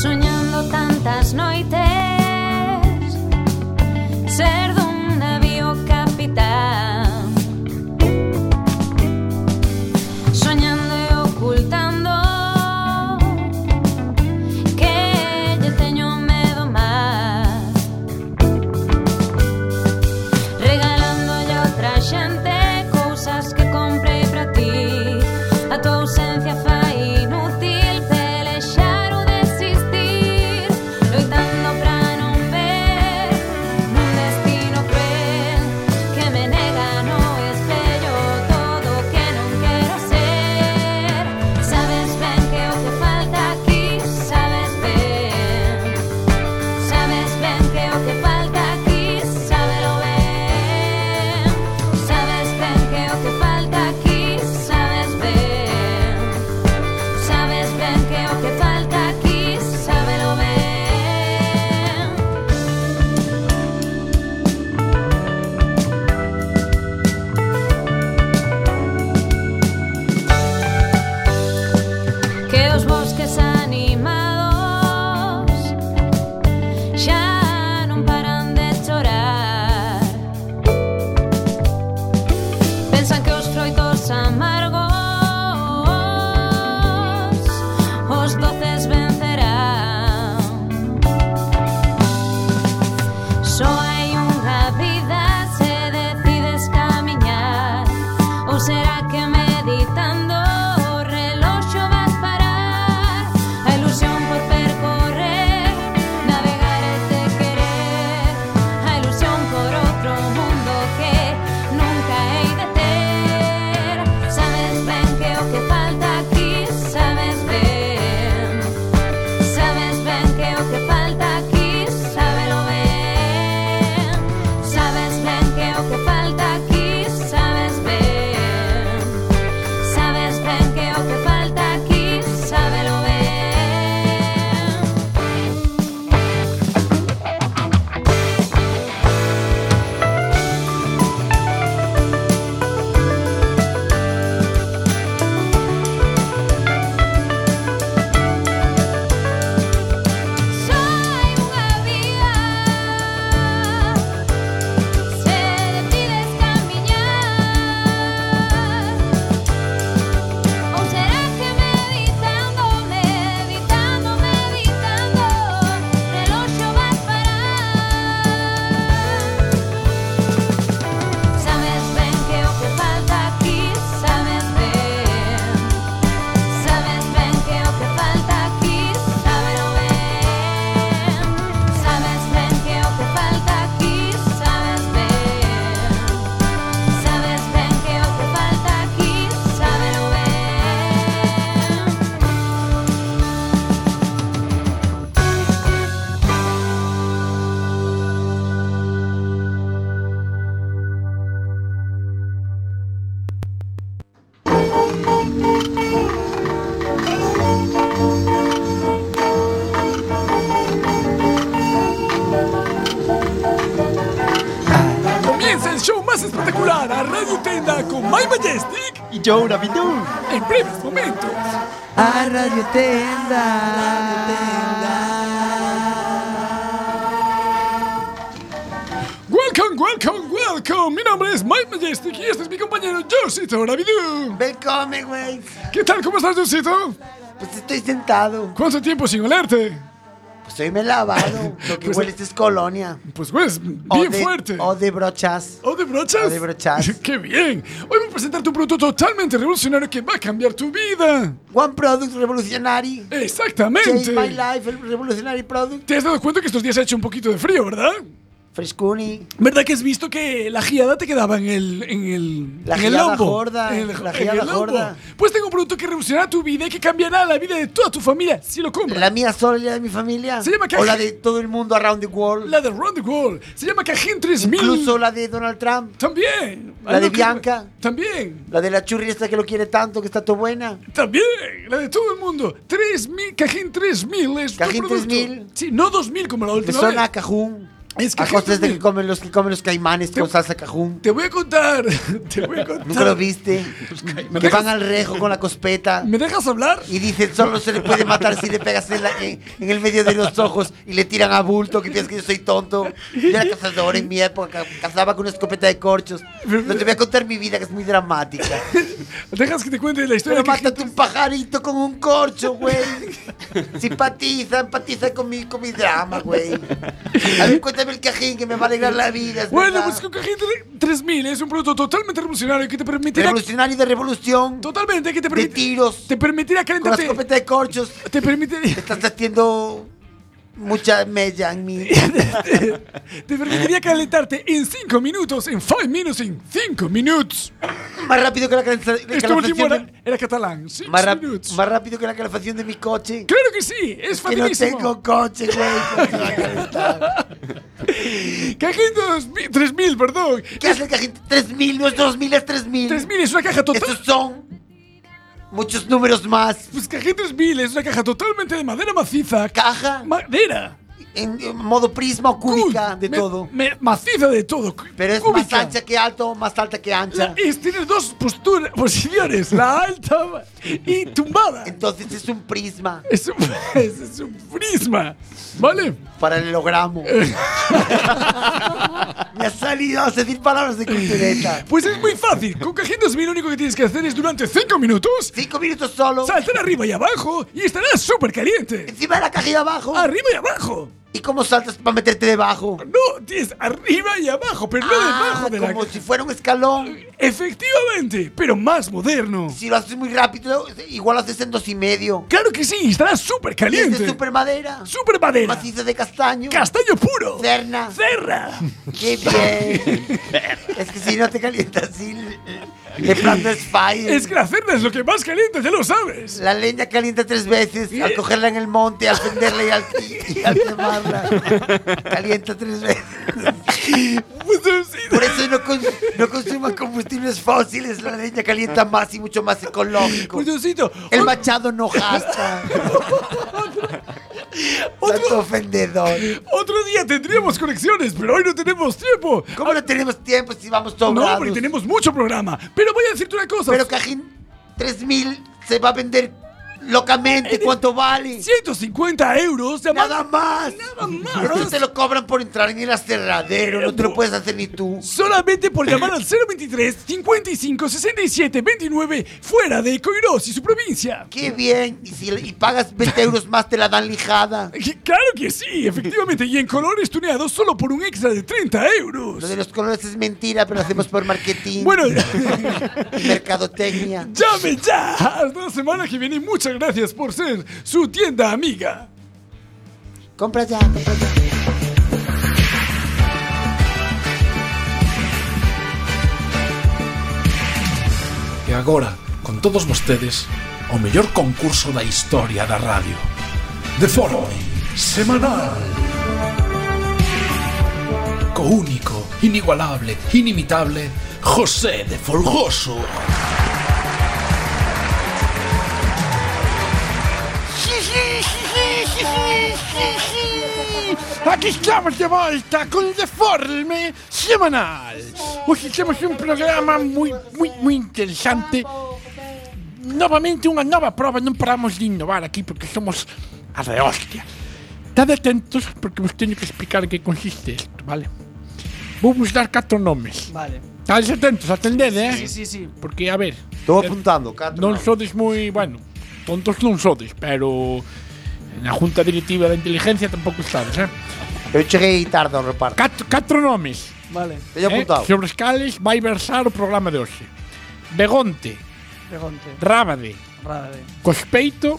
Soñando tantas noites Ser dun navío capitán Soñando e ocultando Que lle teño medo máis Regalándolle a outra xente Cousas que comprei para ti A tua ausencia fai inútil pelexar ou desistir Loitando pra non ver nun destino cruel Que me nega no espello todo o que non quero ser Sabes ben que o que falta aquí sabes ben Sabes ben que o que falta aquí sábelo ben Sabes ben que o que falta aquí sabes ben Sabes ben que o que falta aquí, sábelo ben. Que os bosques animados xa non paran de chorar. Pensan que os froitos amargos os doces vencerán. Só hai unha vida se decides camiñar ou será que meditando o reloxo vas parar a ilusión por percorrer navegar e te querer a ilusión por outro mundo que nunca hei de ter sabes ben que o que falta aquí sabes ben sabes ben que o que falta aquí sábelo ben sabes ben que o que falta aquí sabes ben sabes ben que o que falta aquí sábelo ben Só hai unha vía Se decides camiñar Ou será que meditando, meditando, meditando Reloxo vas parar Sabes ben que o que falta aquí Sabes ben Sabes ben que o que falta aquí Sábelo ben Sabes ben que o que falta aquí Sabes ben Sabes ben que o que falta aquí Sábelo ben
Comienza el show más
espectacular a Radio Tenda con My Majestic y Joe Navidou en breves momentos.
A Radio Tenda.
Welcome, welcome, welcome. Mi nombre es Mike Majestic y este es mi compañero Josito Navidou. Welcome, güey. ¿Qué tal? ¿Cómo estás, Josito? Pues estoy sentado. ¿Cuánto tiempo sin olerte?
Pues hoy me he lavado. Lo que
Pues-
huele es colonia.
Pues hueles
O
bien
de-
fuerte. O de brochas. O de brochas. O de brochas. Qué bien. Hoy voy a presentarte un producto totalmente revolucionario que va a cambiar tu vida. One Product Revolutionary. Exactamente.
Change my life, el revolutionary product.
Te has dado cuenta que estos días ha hecho un poquito de frío, ¿verdad? Frescuni. ¿Verdad que has visto que la giada te quedaba en el. En el
La
en el
giada
lombo?
gorda,
En el-
la
en
giada
el lombo.
gorda.
Pues tengo un producto que revolucionará tu vida y que cambiará la vida de toda tu familia si lo compras. ¿La mía sola y la de mi familia? Se llama
O la de
todo el mundo around the world. La de around the world. Se llama Cajin 3000.
Incluso
la de Donald Trump. También.
La de
Algo que-
Bianca.
También.
La de la churri esta que lo quiere tanto, que está todo buena.
También, la de todo el mundo. 3000, Cajín 3000 es
Cajín
3000. Sí, no 2000 como la
Me
última
suena a
vez.
cajún.
Es
a
Cajín
costas de
3000.
que comen los que comen los caimanes con salsa cajún.
Te voy a contar. Te voy a contar.
Nunca lo viste.
¿Me
que
dejas-
van al rejo con la cospeta.
¿Me dejas hablar?
Y dicen, solo se le puede matar si le pegas en, la- en- en el medio de los ojos y le tiran a bulto, que piensas que yo soy tonto. Yo era cazador en mi época, ca- cazaba con una escopeta de corchos. No te voy a contar mi vida, que es muy dramática.
Dejas que te cuente la historia.
Pero mátate un pajarito con un corcho, güey. Simpatiza, empatiza con mi, con mi drama, güey. A ver, cuéntame el cajín que me va a alegrar la vida. es
Bueno,
verdad.
pues con Cajín 3000 es un producto totalmente revolucionario que te permitirá.
Revolucionario de revolución.
Totalmente, que te
permite. De tiros.
Te permitirá calentarte.
Con la escopeta de corchos.
Te permitiría.
Estás haciendo mucha mella en mí.
Te permitiría calentarte en 5 minutos, en 5 minutes, en 5 minutos.
Más rápido que la calefacción.
Esto último era, era catalán. Six
Más, rap-
minutes.
más rápido que la calefacción de mi coche.
Claro que sí, es
que no
facilísimo.
tengo coche, güey.
Cajín 2000, 3000, perdón.
¿Qué es el cajín 3000? No es 2000, es 3000.
3000 es una caja total.
Estos son muchos números más.
Pues Cajín 3000 es una caja totalmente de madera maciza.
Caja.
Madera.
En, en modo prisma o cúbica de todo.
Me- maciza de todo.
Pero es más
cúbica.
ancha que alto, más alta que ancha.
La- es- tiene dos posturas, posiciones, la alta y tumbada.
Entonces es un prisma.
Es un, es- es un prisma, ¿vale?
Paralelogramo. Me ha salido a decir palabras de cultureta.
Pues es muy fácil. Con Cajín 2000 lo único que tienes que hacer es durante 5 minutos.
5 minutos solo.
Saltar arriba y abajo y estarás súper caliente.
Encima de la caja y abajo.
Arriba y abajo.
¿Y cómo saltas para meterte debajo? Ah,
No, tienes arriba y abajo, pero no debajo de la
Como si fuera un escalón.
Efectivamente, pero más moderno.
Si lo haces muy rápido, igual lo haces en dos y medio.
Claro que sí, estarás súper
Y es de
caliente.
super madera.
Super madera.
Macizo de castaño.
Castaño puro.
Cerna.
Cerra.
Qué bien. es que si no te calientas así, le plantas fire.
Es que la cerda es lo que más calienta, ya lo sabes.
La leña calienta tres veces al cogerla en el monte, al prenderla y al, y al quemarla. Calienta tres veces.
Pues,
Por eso no, cons- no consuman combustibles fósiles. La leña calienta más y mucho más ecológico.
Pues,
el machado no gasta. Tanto ofendedor.
Otro día tendríamos conexiones, pero hoy no tenemos tiempo.
¿Cómo no tenemos tiempo si vamos sobrados?
No, hombre, tenemos mucho programa. Pero voy a decirte una cosa.
Pero Cajín 3000 se va a vender locamente. ¿Cuánto vale?
150 euros.
Nada más. Nada más. Pero no te lo cobran por entrar en el aserradero. No te lo puedes hacer ni tú.
Solamente por llamar al 023 55 67 29 fuera de Coirós y su provincia.
Qué bien. Y si y pagas 20 euros más, te la dan lijada.
Claro que sí, efectivamente. Y en colores tuneados solo por un extra de 30 euros.
Lo de los colores es mentira, pero lo hacemos por marketing.
Bueno,
Mercadotecnia.
llame ya. Hasta la semana que viene. y Muchas gracias por ser su tienda amiga.
Compra ya, compra ya.
E agora, con todos vostedes, o mellor concurso da historia da radio. De forma semanal. Co único, inigualable, inimitable, José de Folgoso.
Sí,
Aquí estamos de volta con el deforme semanal. Hoy hicimos un programa muy, muy, muy interesante. Novamente unha nova prova, non paramos de innovar aquí porque somos a de hostia. Estad atentos porque vos teño que explicar en que consiste isto, vale? Vou vos dar catro nomes.
Vale.
Estades atentos, atendede, eh?
Sí, sí, sí.
Porque, a ver...
Estou apuntando, catro
Non
nomes.
sodes moi, bueno, tontos non sodes, pero... Na Junta Directiva da Inteligencia tampouco estades, eh?
Eu cheguei tarde ao reparto.
Catro, catro nomes.
Vale.
Teño
Eh,
apuntado.
¿eh? sobre os cales vai versar o programa de hoxe. Begonte,
Pregonte.
Rábade,
Rábade.
Cospeito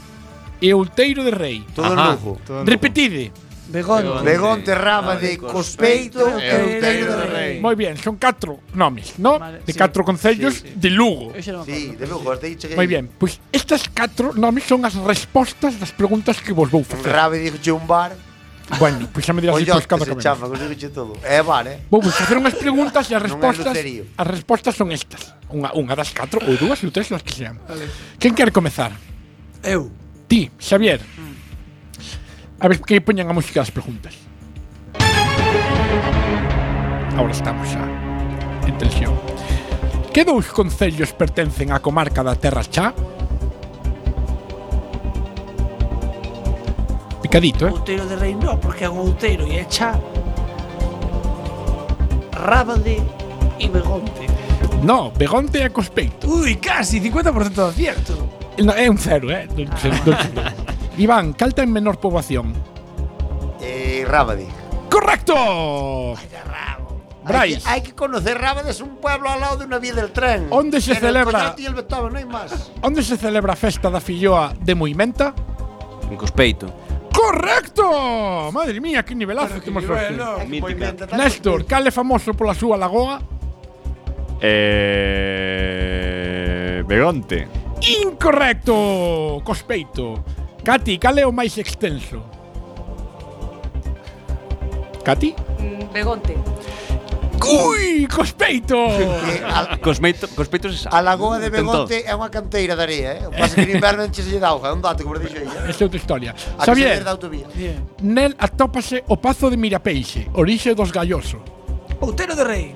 e Outeiro de Rei.
Todo en Lugo. Todo en Lugo.
Repetide.
Begonte.
Begonte, Rábade, Cospeito e Outeiro de Rei.
Moi bien, son catro nomes, no? de catro concellos de Lugo.
Sí, de Lugo, hasta aí cheguei.
Moi bien, pois pues estas catro nomes son as respostas das preguntas que vos vou facer.
Rábade dixoche un bar.
Bueno, pois pues xa me dirás
Ollote
despois cando
se
acabemos.
chama, dixoche todo. É bar, eh?
Vou vos facer unhas preguntas e
Non é
as respostas
lucerío.
as respostas son estas. Unha, unha das catro ou dúas ou tres das que sean. Quen quer comezar?
Eu.
Ti, Xavier. A ver que poñan a música das preguntas. Ahora estamos xa en tensión. Que dous concellos pertencen á comarca da Terra Chá? Picadito, eh?
Outeiro de Rei no, porque é un outeiro e é chá. Rábade e Begonte.
No, Begonte e Cospeito.
Ui, casi, 50% de acierto.
No, é un cero, eh? Do, do, do, Iván, cal ten menor poboación?
Eh, Rábade.
¡Correcto!
Hay
Brais,
que, hay que conocer Rábade, es un pueblo al lado de una vía del tren.
¿Dónde se
Entre el
celebra?
Coyote Y el Beethoven, no hay más.
onde se celebra a festa da filloa de Moimenta?
En Cospeito.
¡Correcto! Madre mía, que nivelazo que hemos feito. Néstor, cal é famoso pola súa lagoa?
Eh, Begonte.
Incorrecto! Cospeito. Cati, cal é o máis extenso? Cati?
Mm, Begonte.
Ui, Cospeito!
Cospeito, Cospeito se sabe.
Eh, A lagoa de
Tentó.
Begonte é unha canteira de area, eh? O que pasa é que en inverno enche de auga, é un dato que vos dixo aí. eh?
Esta é outra historia.
A que se
Xavier,
ler da autovía.
nel atópase o Pazo de Mirapeixe, orixe dos Galloso.
Outeiro de Rei.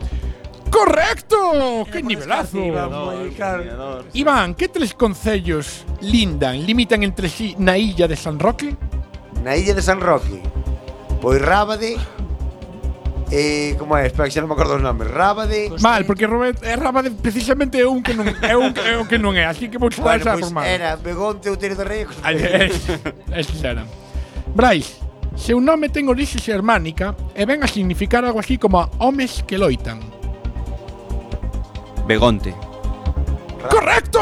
¡Correcto! ¡Qué nivelazo!
claro.
Iván, ¿qué tres concellos lindan, limitan entre sí na illa de San Roque?
Na illa de San Roque. Pois Rábade Eh, como é? Espera, que xa non me acordo os nomes. Rábade.
Pues Mal, porque Robert, é Rábade precisamente é un que non é, un, é un que non é, así que vou
Bueno,
chutar esa
pois
por mal.
era Begonte, Outeiro de Rei. e Cos-
Ai, es, es era. Brais, seu nome ten orixe xermánica e ven a significar algo así como homes que loitan.
Begonte.
¡Correcto!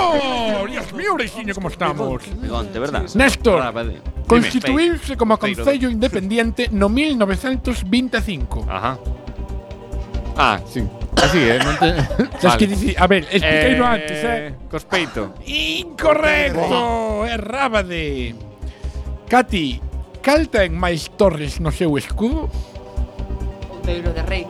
Dios mío, Orexinho, como estamos.
Begonte, ¿verdad?
Néstor,
Ah,
Rábade.
Constituirse como
Dime.
Concello Independiente no 1925.
Ajá. Ah, sí. Así, eh. Non te...
Sabes que dici- a ver, expliqueino antes, eh.
Cospeito.
Incorrecto! É Rábade. Cati, cal ten máis torres no seu escudo?
Outeiro de Rei.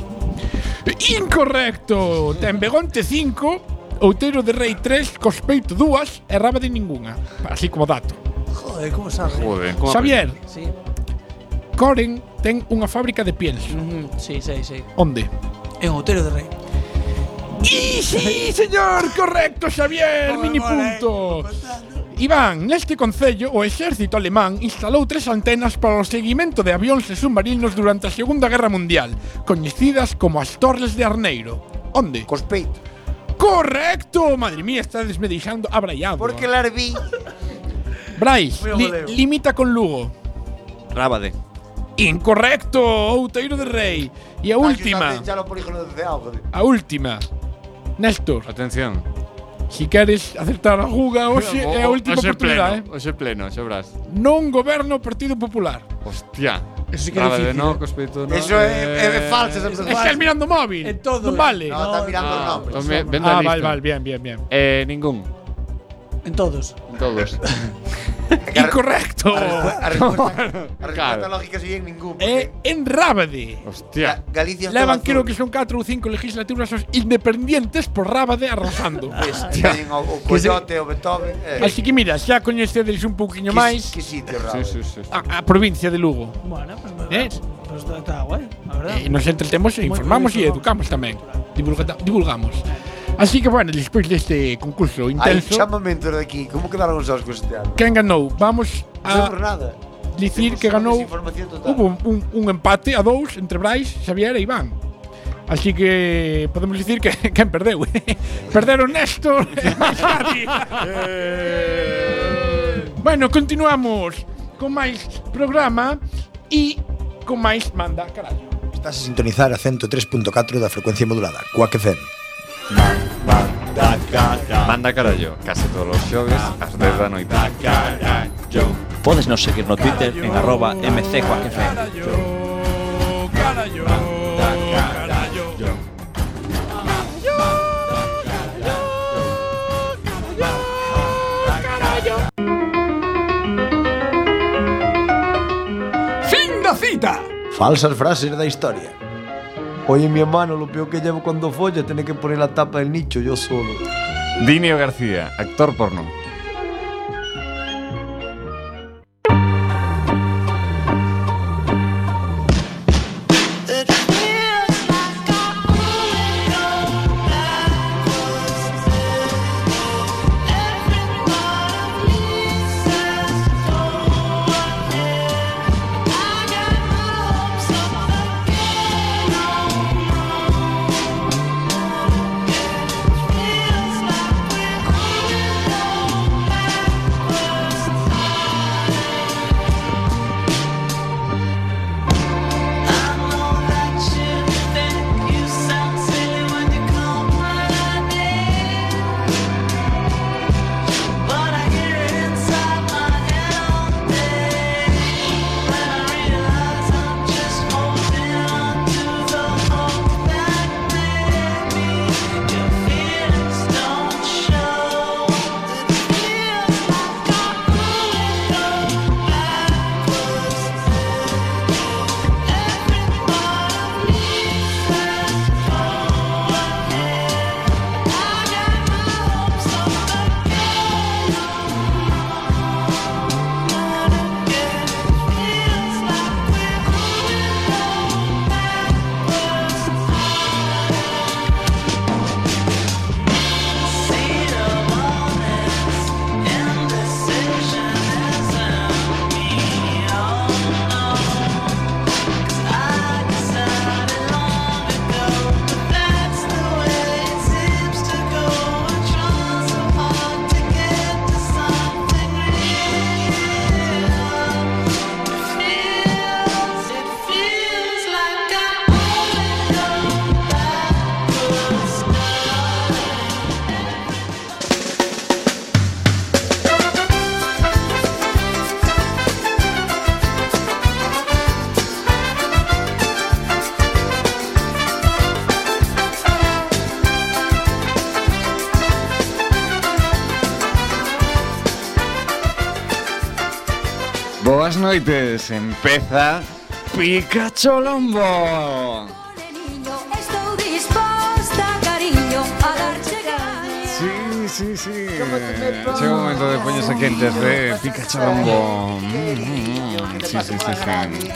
Incorrecto! Ten Begonte 5, Outeiro de Rei 3, Cospeito 2 e Rábade ninguna. Así como dato.
Joder, como sabe.
Joder.
Xavier.
Sí.
Coren ten unha fábrica de pienso.
Sí, sí, sí.
Onde?
É un Outeiro de Rei.
¡Y sí, señor! ¡Correcto, Xavier! ¡Mini punto! Iván, neste concello, o exército alemán instalou tres antenas para o seguimento de avións e submarinos durante a Segunda Guerra Mundial, coñecidas como as Torres de Arneiro. Onde?
Cospeito.
¡Correcto! Madre mía, está desmedixando abraiado.
Porque larvi.
Brais,
Muy
li-
goleo.
limita con Lugo.
Rábade.
Incorrecto, Outeiro de Rei. E a última.
Ya lo polígono de auga.
A última. Néstor.
Atención.
Si queres acertar a Juga hoxe é a eh, última ¿eh?
Hoxe
oportunidade.
pleno, Hoxe pleno, sobras.
Non goberno o Partido Popular.
Hostia.
Eso sí que é
Rábade
difícil,
no,
eh.
Cospeito no.
Eso é- é falso,
Eh,
es Estás falso. mirando móvil. En todo. Non vale. No, estás mirando
Ah,
os
pues
nombres.
me- ven la
Ah,
lista.
vale, vale, bien, bien, bien.
Eh, ningún.
En todos.
Todos.
Incorrecto.
A respuesta,
a
respuesta lógica sería en ningún.
Eh, en Rábade.
Hostia. Galicia está
Levan
azul.
creo que son 4 ou 5 legislaturas os independientes por Rábade arrasando.
Hostia. Teñen o, o
Que se-
Coyote, o Beethoven. eh.
Así que mira, xa coñecedes un pouquiño
Que-
máis
que sitio, Rábade. Sí, sí, sí.
a, a provincia de Lugo.
Bueno,
Eh,
pues, pues está guay, la verdad.
E nos entretemos e
Moi
informamos e
curioso,
educamos tamén. Divulga, divulgamos. Así que bueno, despois deste concurso
Ay,
intenso,
chámame dentro de aquí. ¿Cómo quedaron os Oscars este ano?
quen ganou? Vamos
No
a
por nada.
dicir que ganou Hubo un, un empate a dous entre Brais, Xavier e Iván. Así que podemos dicir que quen perdeu. eh. Perderon Néstor. e máis Xavi. bueno, continuamos con máis programa e con máis manda, carallo.
Estás a sintonizar a 103.4 da frecuencia modulada, Quack FM.
Manda carallo, case todos os xoves
Ah.
ás 10 da noite.
Podes nos seguir no Twitter en arroba mcjoaquefm.
Fin da cita. Falsas frases da historia. Oye, mi hermano, lo peor que llevo cuando folla es tener que poner la tapa del nicho yo solo.
Dinio García, actor porno. Boas noites, empeza Pikachu Lombo.
Estou disposta, cariño, a dar chegar.
Sí, sí, sí. Chega o Eh, momento de poñerse quentes de Pikachu Lombo. Mm, mm, Sí, sí, sí, sí.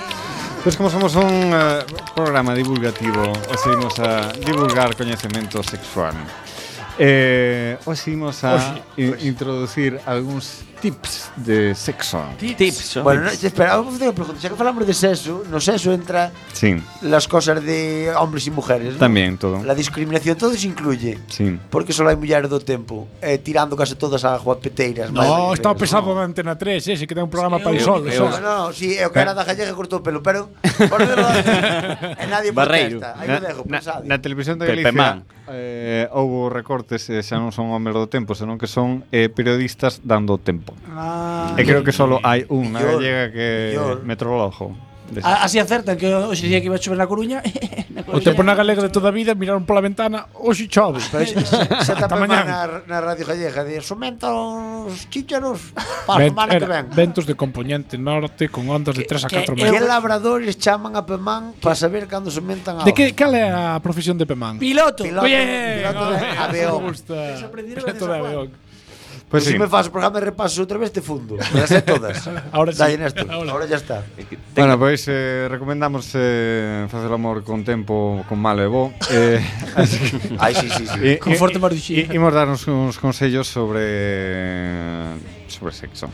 Pois como somos un eh, programa divulgativo, os imos a divulgar coñecemento sexual. Eh, os imos a
Hoxe,
i- introducir algúns tips de sexo.
Bueno, no, espera, vamos a hacer una pregunta. Ya que hablamos de sexo, no sexo entra
Sí,
las cosas de hombres y mujeres, ¿no?
tamén todo.
La discriminación todo se incluye.
Sí.
Porque solo hay mulleres do tempo, eh, tirando casi todas a guapeteiras.
No,
madre,
está
pero-
pesado da Antena 3, ese que ten un programa para Eh. o
Eu-
sol.
eu-
sabes?
No, no, sí, é o cara da gallega cortou o pelo, pero por dentro e nadie
Barreiro.
protesta. Aí o dejo,
na,
pois, pensade.
na televisión de
Pepe
Galicia
Man.
eh, houbo recortes, eh, xa non son homes do tempo, senón que son eh, periodistas dando o tempo.
Ah.
e creo que solo hai unha
Millor,
gallega que
millor.
metrologo.
Así acertan que hoxe dicía que iba a chover na Coruña. na
O
Coruña.
tempo na galega de toda a vida miraron pola ventana, hoxe chove.
xa
Xa
Ata
tamén
mañá.
na, na Radio Gallega de Somentos chícharos para a
Vent-
semana que
era
ven.
er, ventos de componente norte con ondas de 3 a
Que,
4
que
metros.
labradores chaman a Pemán para saber cando somentan a
De que cal é a profesión de Pemán?
Piloto.
Piloto,
Bien,
piloto de
bien,
avión.
me gusta.
Piloto de avión.
Pues
Pues
sí.
si me fas o programa e repaso outra vez te fundo. Me las sé todas.
Ahora sí.
Dalle, Néstor. Ahora ya está.
Bueno, pois eh, recomendamos eh, facer o amor con tempo con malo e bo eh, así que-
Ai, sí, sí, sí.
E-
Con
e-
forte maruxía.
e- Imos darnos uns consellos sobre sobre sexo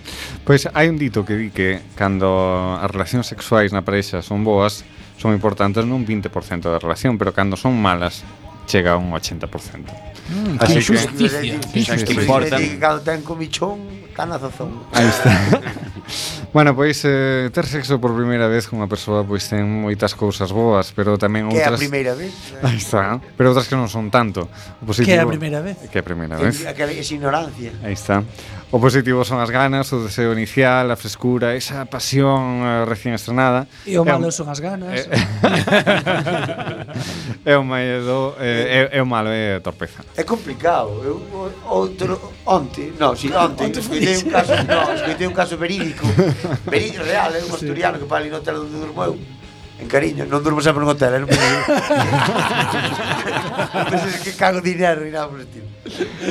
Pois hai un dito que di que Cando as relacións sexuais na parexa son boas Son importantes nun 20% da relación Pero cando son malas Chega a un 80%
Mm, que
Así que-
injusticia.
Exacto.
Que cando ten comichón, tan azazón.
Aí está. bueno, pois eh, ter sexo por primeira vez cunha persoa pois ten moitas cousas boas, pero tamén
Que é a
outras
primeira vez.
Aí está. Pero outras que non son tanto. O
Que é a
positivo-
primeira vez.
Que é a primeira
Que-
vez.
Aquela esa ignorancia.
Aí está. O positivo son as ganas, o deseo inicial, a frescura, esa pasión eh, recién estrenada.
E o
É un-
malo son as ganas.
É o maido, eh, é, é o malo, é a torpeza.
É complicado. Eu, o- outro, onte, no, si, onte,
Onte foi
escoitei
dixe.
un caso, no, escoitei un caso verídico, verídico real, é un asturiano que para ali no hotel onde durmo eu, en cariño, non durmo sempre nun hotel, é un peligro. Pois é que cago dinero e nada por el estilo.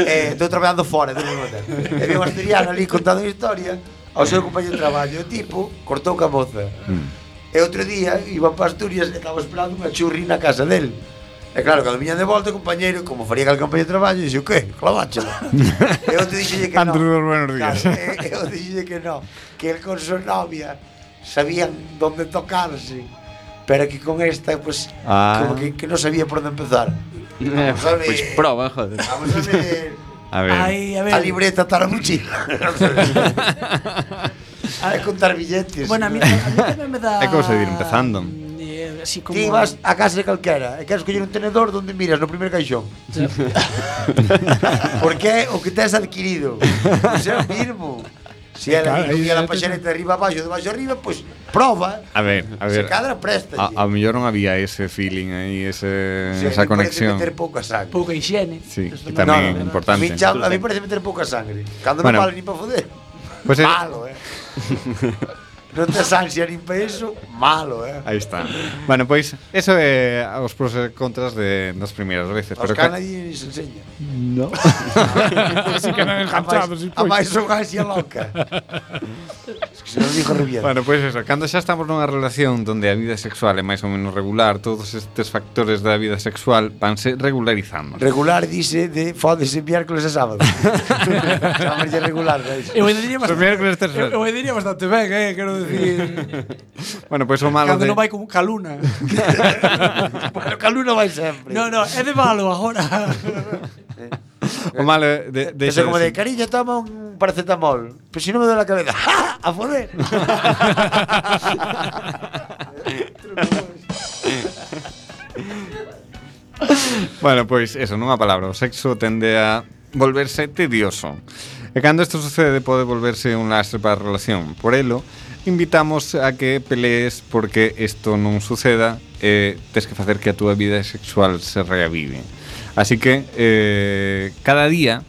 Eh, estou traballando fora, durmo nun hotel. E vi un asturiano ali contando unha historia ao seu compañero de traballo, o tipo cortou ca moza. E outro día iba para Asturias e estaba esperando unha churri na casa del. E claro, cando viñan de volta, o compañeiro, como faría cal compañero de traballo, dixo, que? Claváchela. e eu te dixelle que non.
Andrew, buenos días.
Claro, e e eu dixelle que non. Que el con súa novia sabían donde tocarse. Pero que con esta, pues,
Ah.
como que, que non sabía por onde empezar.
Eh,
Vamos a ver.
Pois proba, joder.
Vamos a ver.
A ver.
Ai, a, ver. a libreta está na mochila. a contar billetes.
Bueno, a mí, a mí tamén me dá...
É cousa de ir empezando.
eh, así como...
Ti vas a casa de calquera e queres coller un tenedor donde miras no primeiro caixón. Porque é o que tes adquirido. Pois é o mismo. Si ela
Claro, aí
claro, a
xa te-
paxareta de arriba abaixo, de baixo arriba, pois prova.
A ver, a
Se
ver.
cadra, préstalle.
A, a mellor non había ese feeling aí, ese,
Sí, me
esa
parece
conexión.
meter pouca sangre.
Pouca higiene.
Sí, que tamén é importante.
A mí, cham- a mí parece meter pouca sangre. Cando
Bueno.
non vale nin para foder.
Pois é-
malo, eh. non tes ansia nin para iso, malo, eh.
Aí está. Bueno, pois eso é os pros e contras de das primeiras veces,
Os
pero
cana di se enseña.
No.
Así que eran enganchados, A máis son ansia loca. Es que se nos dijo Rubiera.
Bueno, pois eso, cando xa estamos nunha relación onde a vida sexual é máis ou menos regular, todos estes factores da vida sexual vanse regularizando.
Regular dice de fódese miércoles e sábado. Chamarlle regular, veis.
Eu ainda diría bastante,
miércoles terceiro.
eu, eu ainda diría bastante ben, eh, quero dicir...
Bueno, pois o malo
Cando
de
non vai con caluna.
bueno, caluna vai sempre.
No, no, é de malo agora.
Eh.
o malo é de de
Eso como de, cariño, toma un paracetamol. Pero si no me duele la cabeza. ¡Ja! ¡A foder!
Bueno, pois eso, nunha palabra, o sexo tende a volverse tedioso. E cando isto sucede pode volverse un lastre para a relación. Por elo, invitamos a que pelees porque isto non suceda e tes que facer que a túa vida sexual se reavive. Así que eh, cada día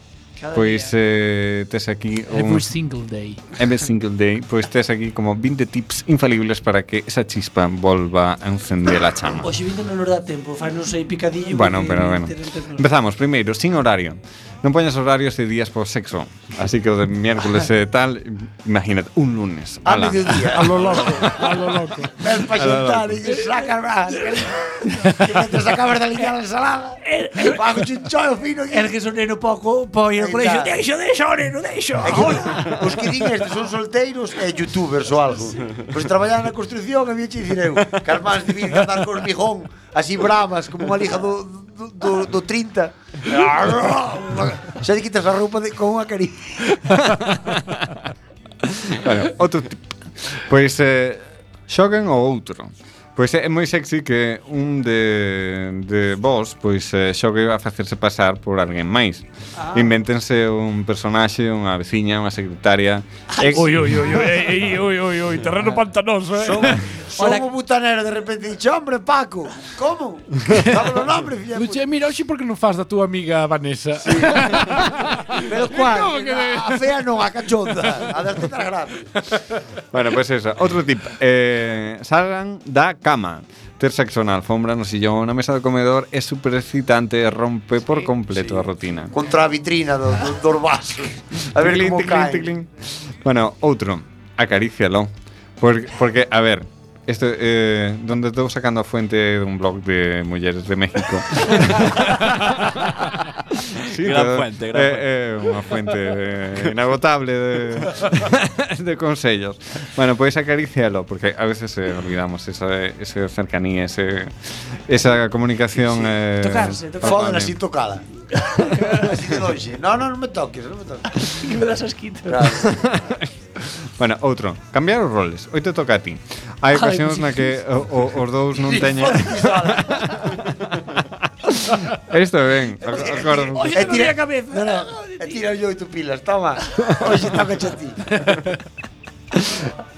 Cada
pois eh, tes aquí
Every E single day.
Every single day, pois tes aquí como 20 tips infalibles para que esa chispa volva a encender a chama.
Oxe, vinte non nos dá tempo, fainos aí picadillo.
Bueno,
porque
pero bueno.
ter- ter- ter-
Empezamos primeiro, sin horario. Non poñas horarios de días por sexo. Así que o de miércoles e tal, imagínate, un lunes.
A
Ala.
mediodía.
A lo loco,
a lo loco. Ven pa
A lo
xuntar
loco.
e que saca más. Que mientras acabas de aliñar a ensalada,
eh,
bajo chinchón fino.
Es que son neno pouco, poi
Aí
no colexo,
está.
deixo, deixo, neno, deixo.
Os que din estes son solteiros e youtubers ou algo. Pois traballan na construcción e viñeche dicir eu, que as mans de vir cantar con hormigón, así bravas, como unha lija do, do, do, do 30. Xa te quitas a roupa de, con unha caricia.
bueno, outro tip. Pois eh, xoguen Pues, o outro. Pois é moi sexy que un de, de vos pois eh, xogue a facerse pasar por alguén máis. Ah. Invéntense un personaxe, unha veciña, unha secretaria. Ex-
Ui, ui, ui, ui, ei, ui, ui, ui, terreno pantanoso, eh.
Somos butanero, de repente dicho, hombre, Paco, como?
Dámelo nombre, filla. Luche, mira, hoxe por que non faz da túa amiga Vanessa? Sí.
Pero cual, a fea non, a cachonda, a das tetas grandes.
Bueno, pois pues eso. Outro tip. Eh, salgan da cama. Ter sexo na alfombra, no sillón, na mesa do comedor é super excitante e rompe por completo a rutina.
Contra a vitrina do, do, dos vasos. A ver
Ticlin,
como
ticlin,
caen.
ticlin. Bueno, outro. Acarícialo. Porque, porque a ver, esto, eh, donde estou sacando a fuente dun blog de mulleres de México.
Gran
todo-
fuente, gran
eh,
fuente.
eh, unha fuente eh, inagotable de, de consellos. Bueno, podéis acariciarlo, porque a veces eh, olvidamos esa, esa cercanía, ese, esa comunicación. eh,
Tocarse, tocarse.
palpable.
Foden así tocada. así de longe. No, no, non me toques, non me toques.
Que me das asquito.
Bueno, outro. Cambiar os roles. Hoy te toca a ti.
Ai,
Hai ocasións
pois,
na
sí.
que o, o, os dous non teñen... Isto é
Eh,
ben, ac- acordo.
É eh, tira a cabeza. No, no. É tira yo oito pilas, toma. Hoxe toca a ti.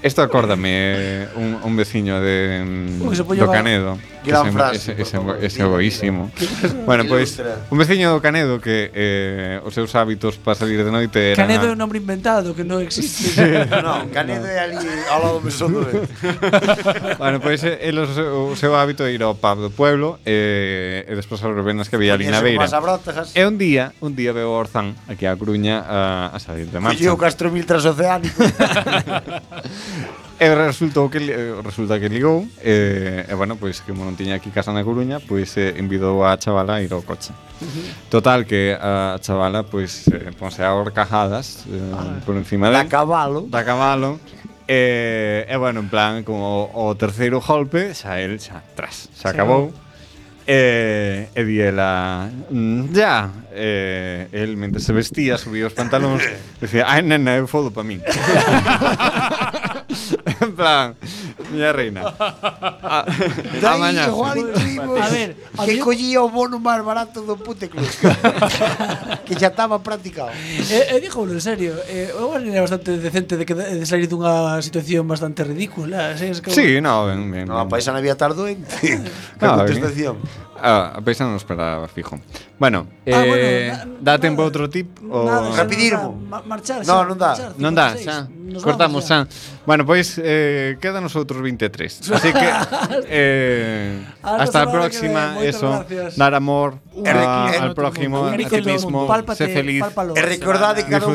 Isto acórdame eh, un, un veciño de mm,
Ui, que se puede
do
llevar.
Canedo.
Gran
Ese-
frase,
ese-
por
ese-
favor.
ese em- egoísimo. bueno, pois
Ilustra.
un veciño do Canedo que eh, os seus hábitos para salir de noite eran
Canedo é un
a-
nombre inventado que non existe.
No, Canedo é ali ao lado do mesón do vento.
bueno, pois eh, el o seu, o seu hábito é ir ao pub do pueblo eh, e despois aos rebendas que había ali na
Coñece
beira.
como as abrotas.
E un día, un día veo o Orzán aquí a Coruña a, a salir de marcha.
Colleu o Castro Mil transoceánico.
E resultou que li- eh, resulta que ligou eh, E bueno, pois que como non tiña aquí casa na Coruña Pois eh, envidou a chavala a ir ao coche Total que a chavala Pois eh, ponse a horcajadas eh, Por encima del Da
cabalo
Da cabalo E eh, eh, bueno, en plan, como o terceiro golpe Xa el xa tras,
Xa
xa acabou E, e di ela "Mm, Ya eh, El, mentre se vestía, subía os pantalóns Dicía, ai nena, eu fodo pa min En plan, miña reina. A, a
Daí
mañá.
igual intuímos
A ver,
que collía o bono máis barato do pute club. que xa estaba practicado.
E, e díjolo, en serio, eh, o Owen era bastante decente de, que, de salir dunha situación bastante ridícula. sabes, como-
Sí, no, ben, ben.
No, a paisana
había tardado en
eh,
eh. Ah,
contestación.
ben. Ah, a paisana non esperaba, fijo. Bueno,
Ah,
eh,
bueno,
dá tempo a outro tip? O...
Nada, xa non dá. Ma- Marchar,
No, non
Ah,
dá.
Non dá, xa. Cortamos xa. Bueno, pois eh, quedan os outros 23. Así que eh,
Ata
hasta
semana
a
que
próxima,
ven, moitas
eso,
gracias.
dar amor
Un
a,
abrazo
al
a todo
prójimo,
mundo.
a
Rico
ti
todo
mismo,
mundo. Pálpate,
sé feliz,
pálpalo.
E recordade que cada un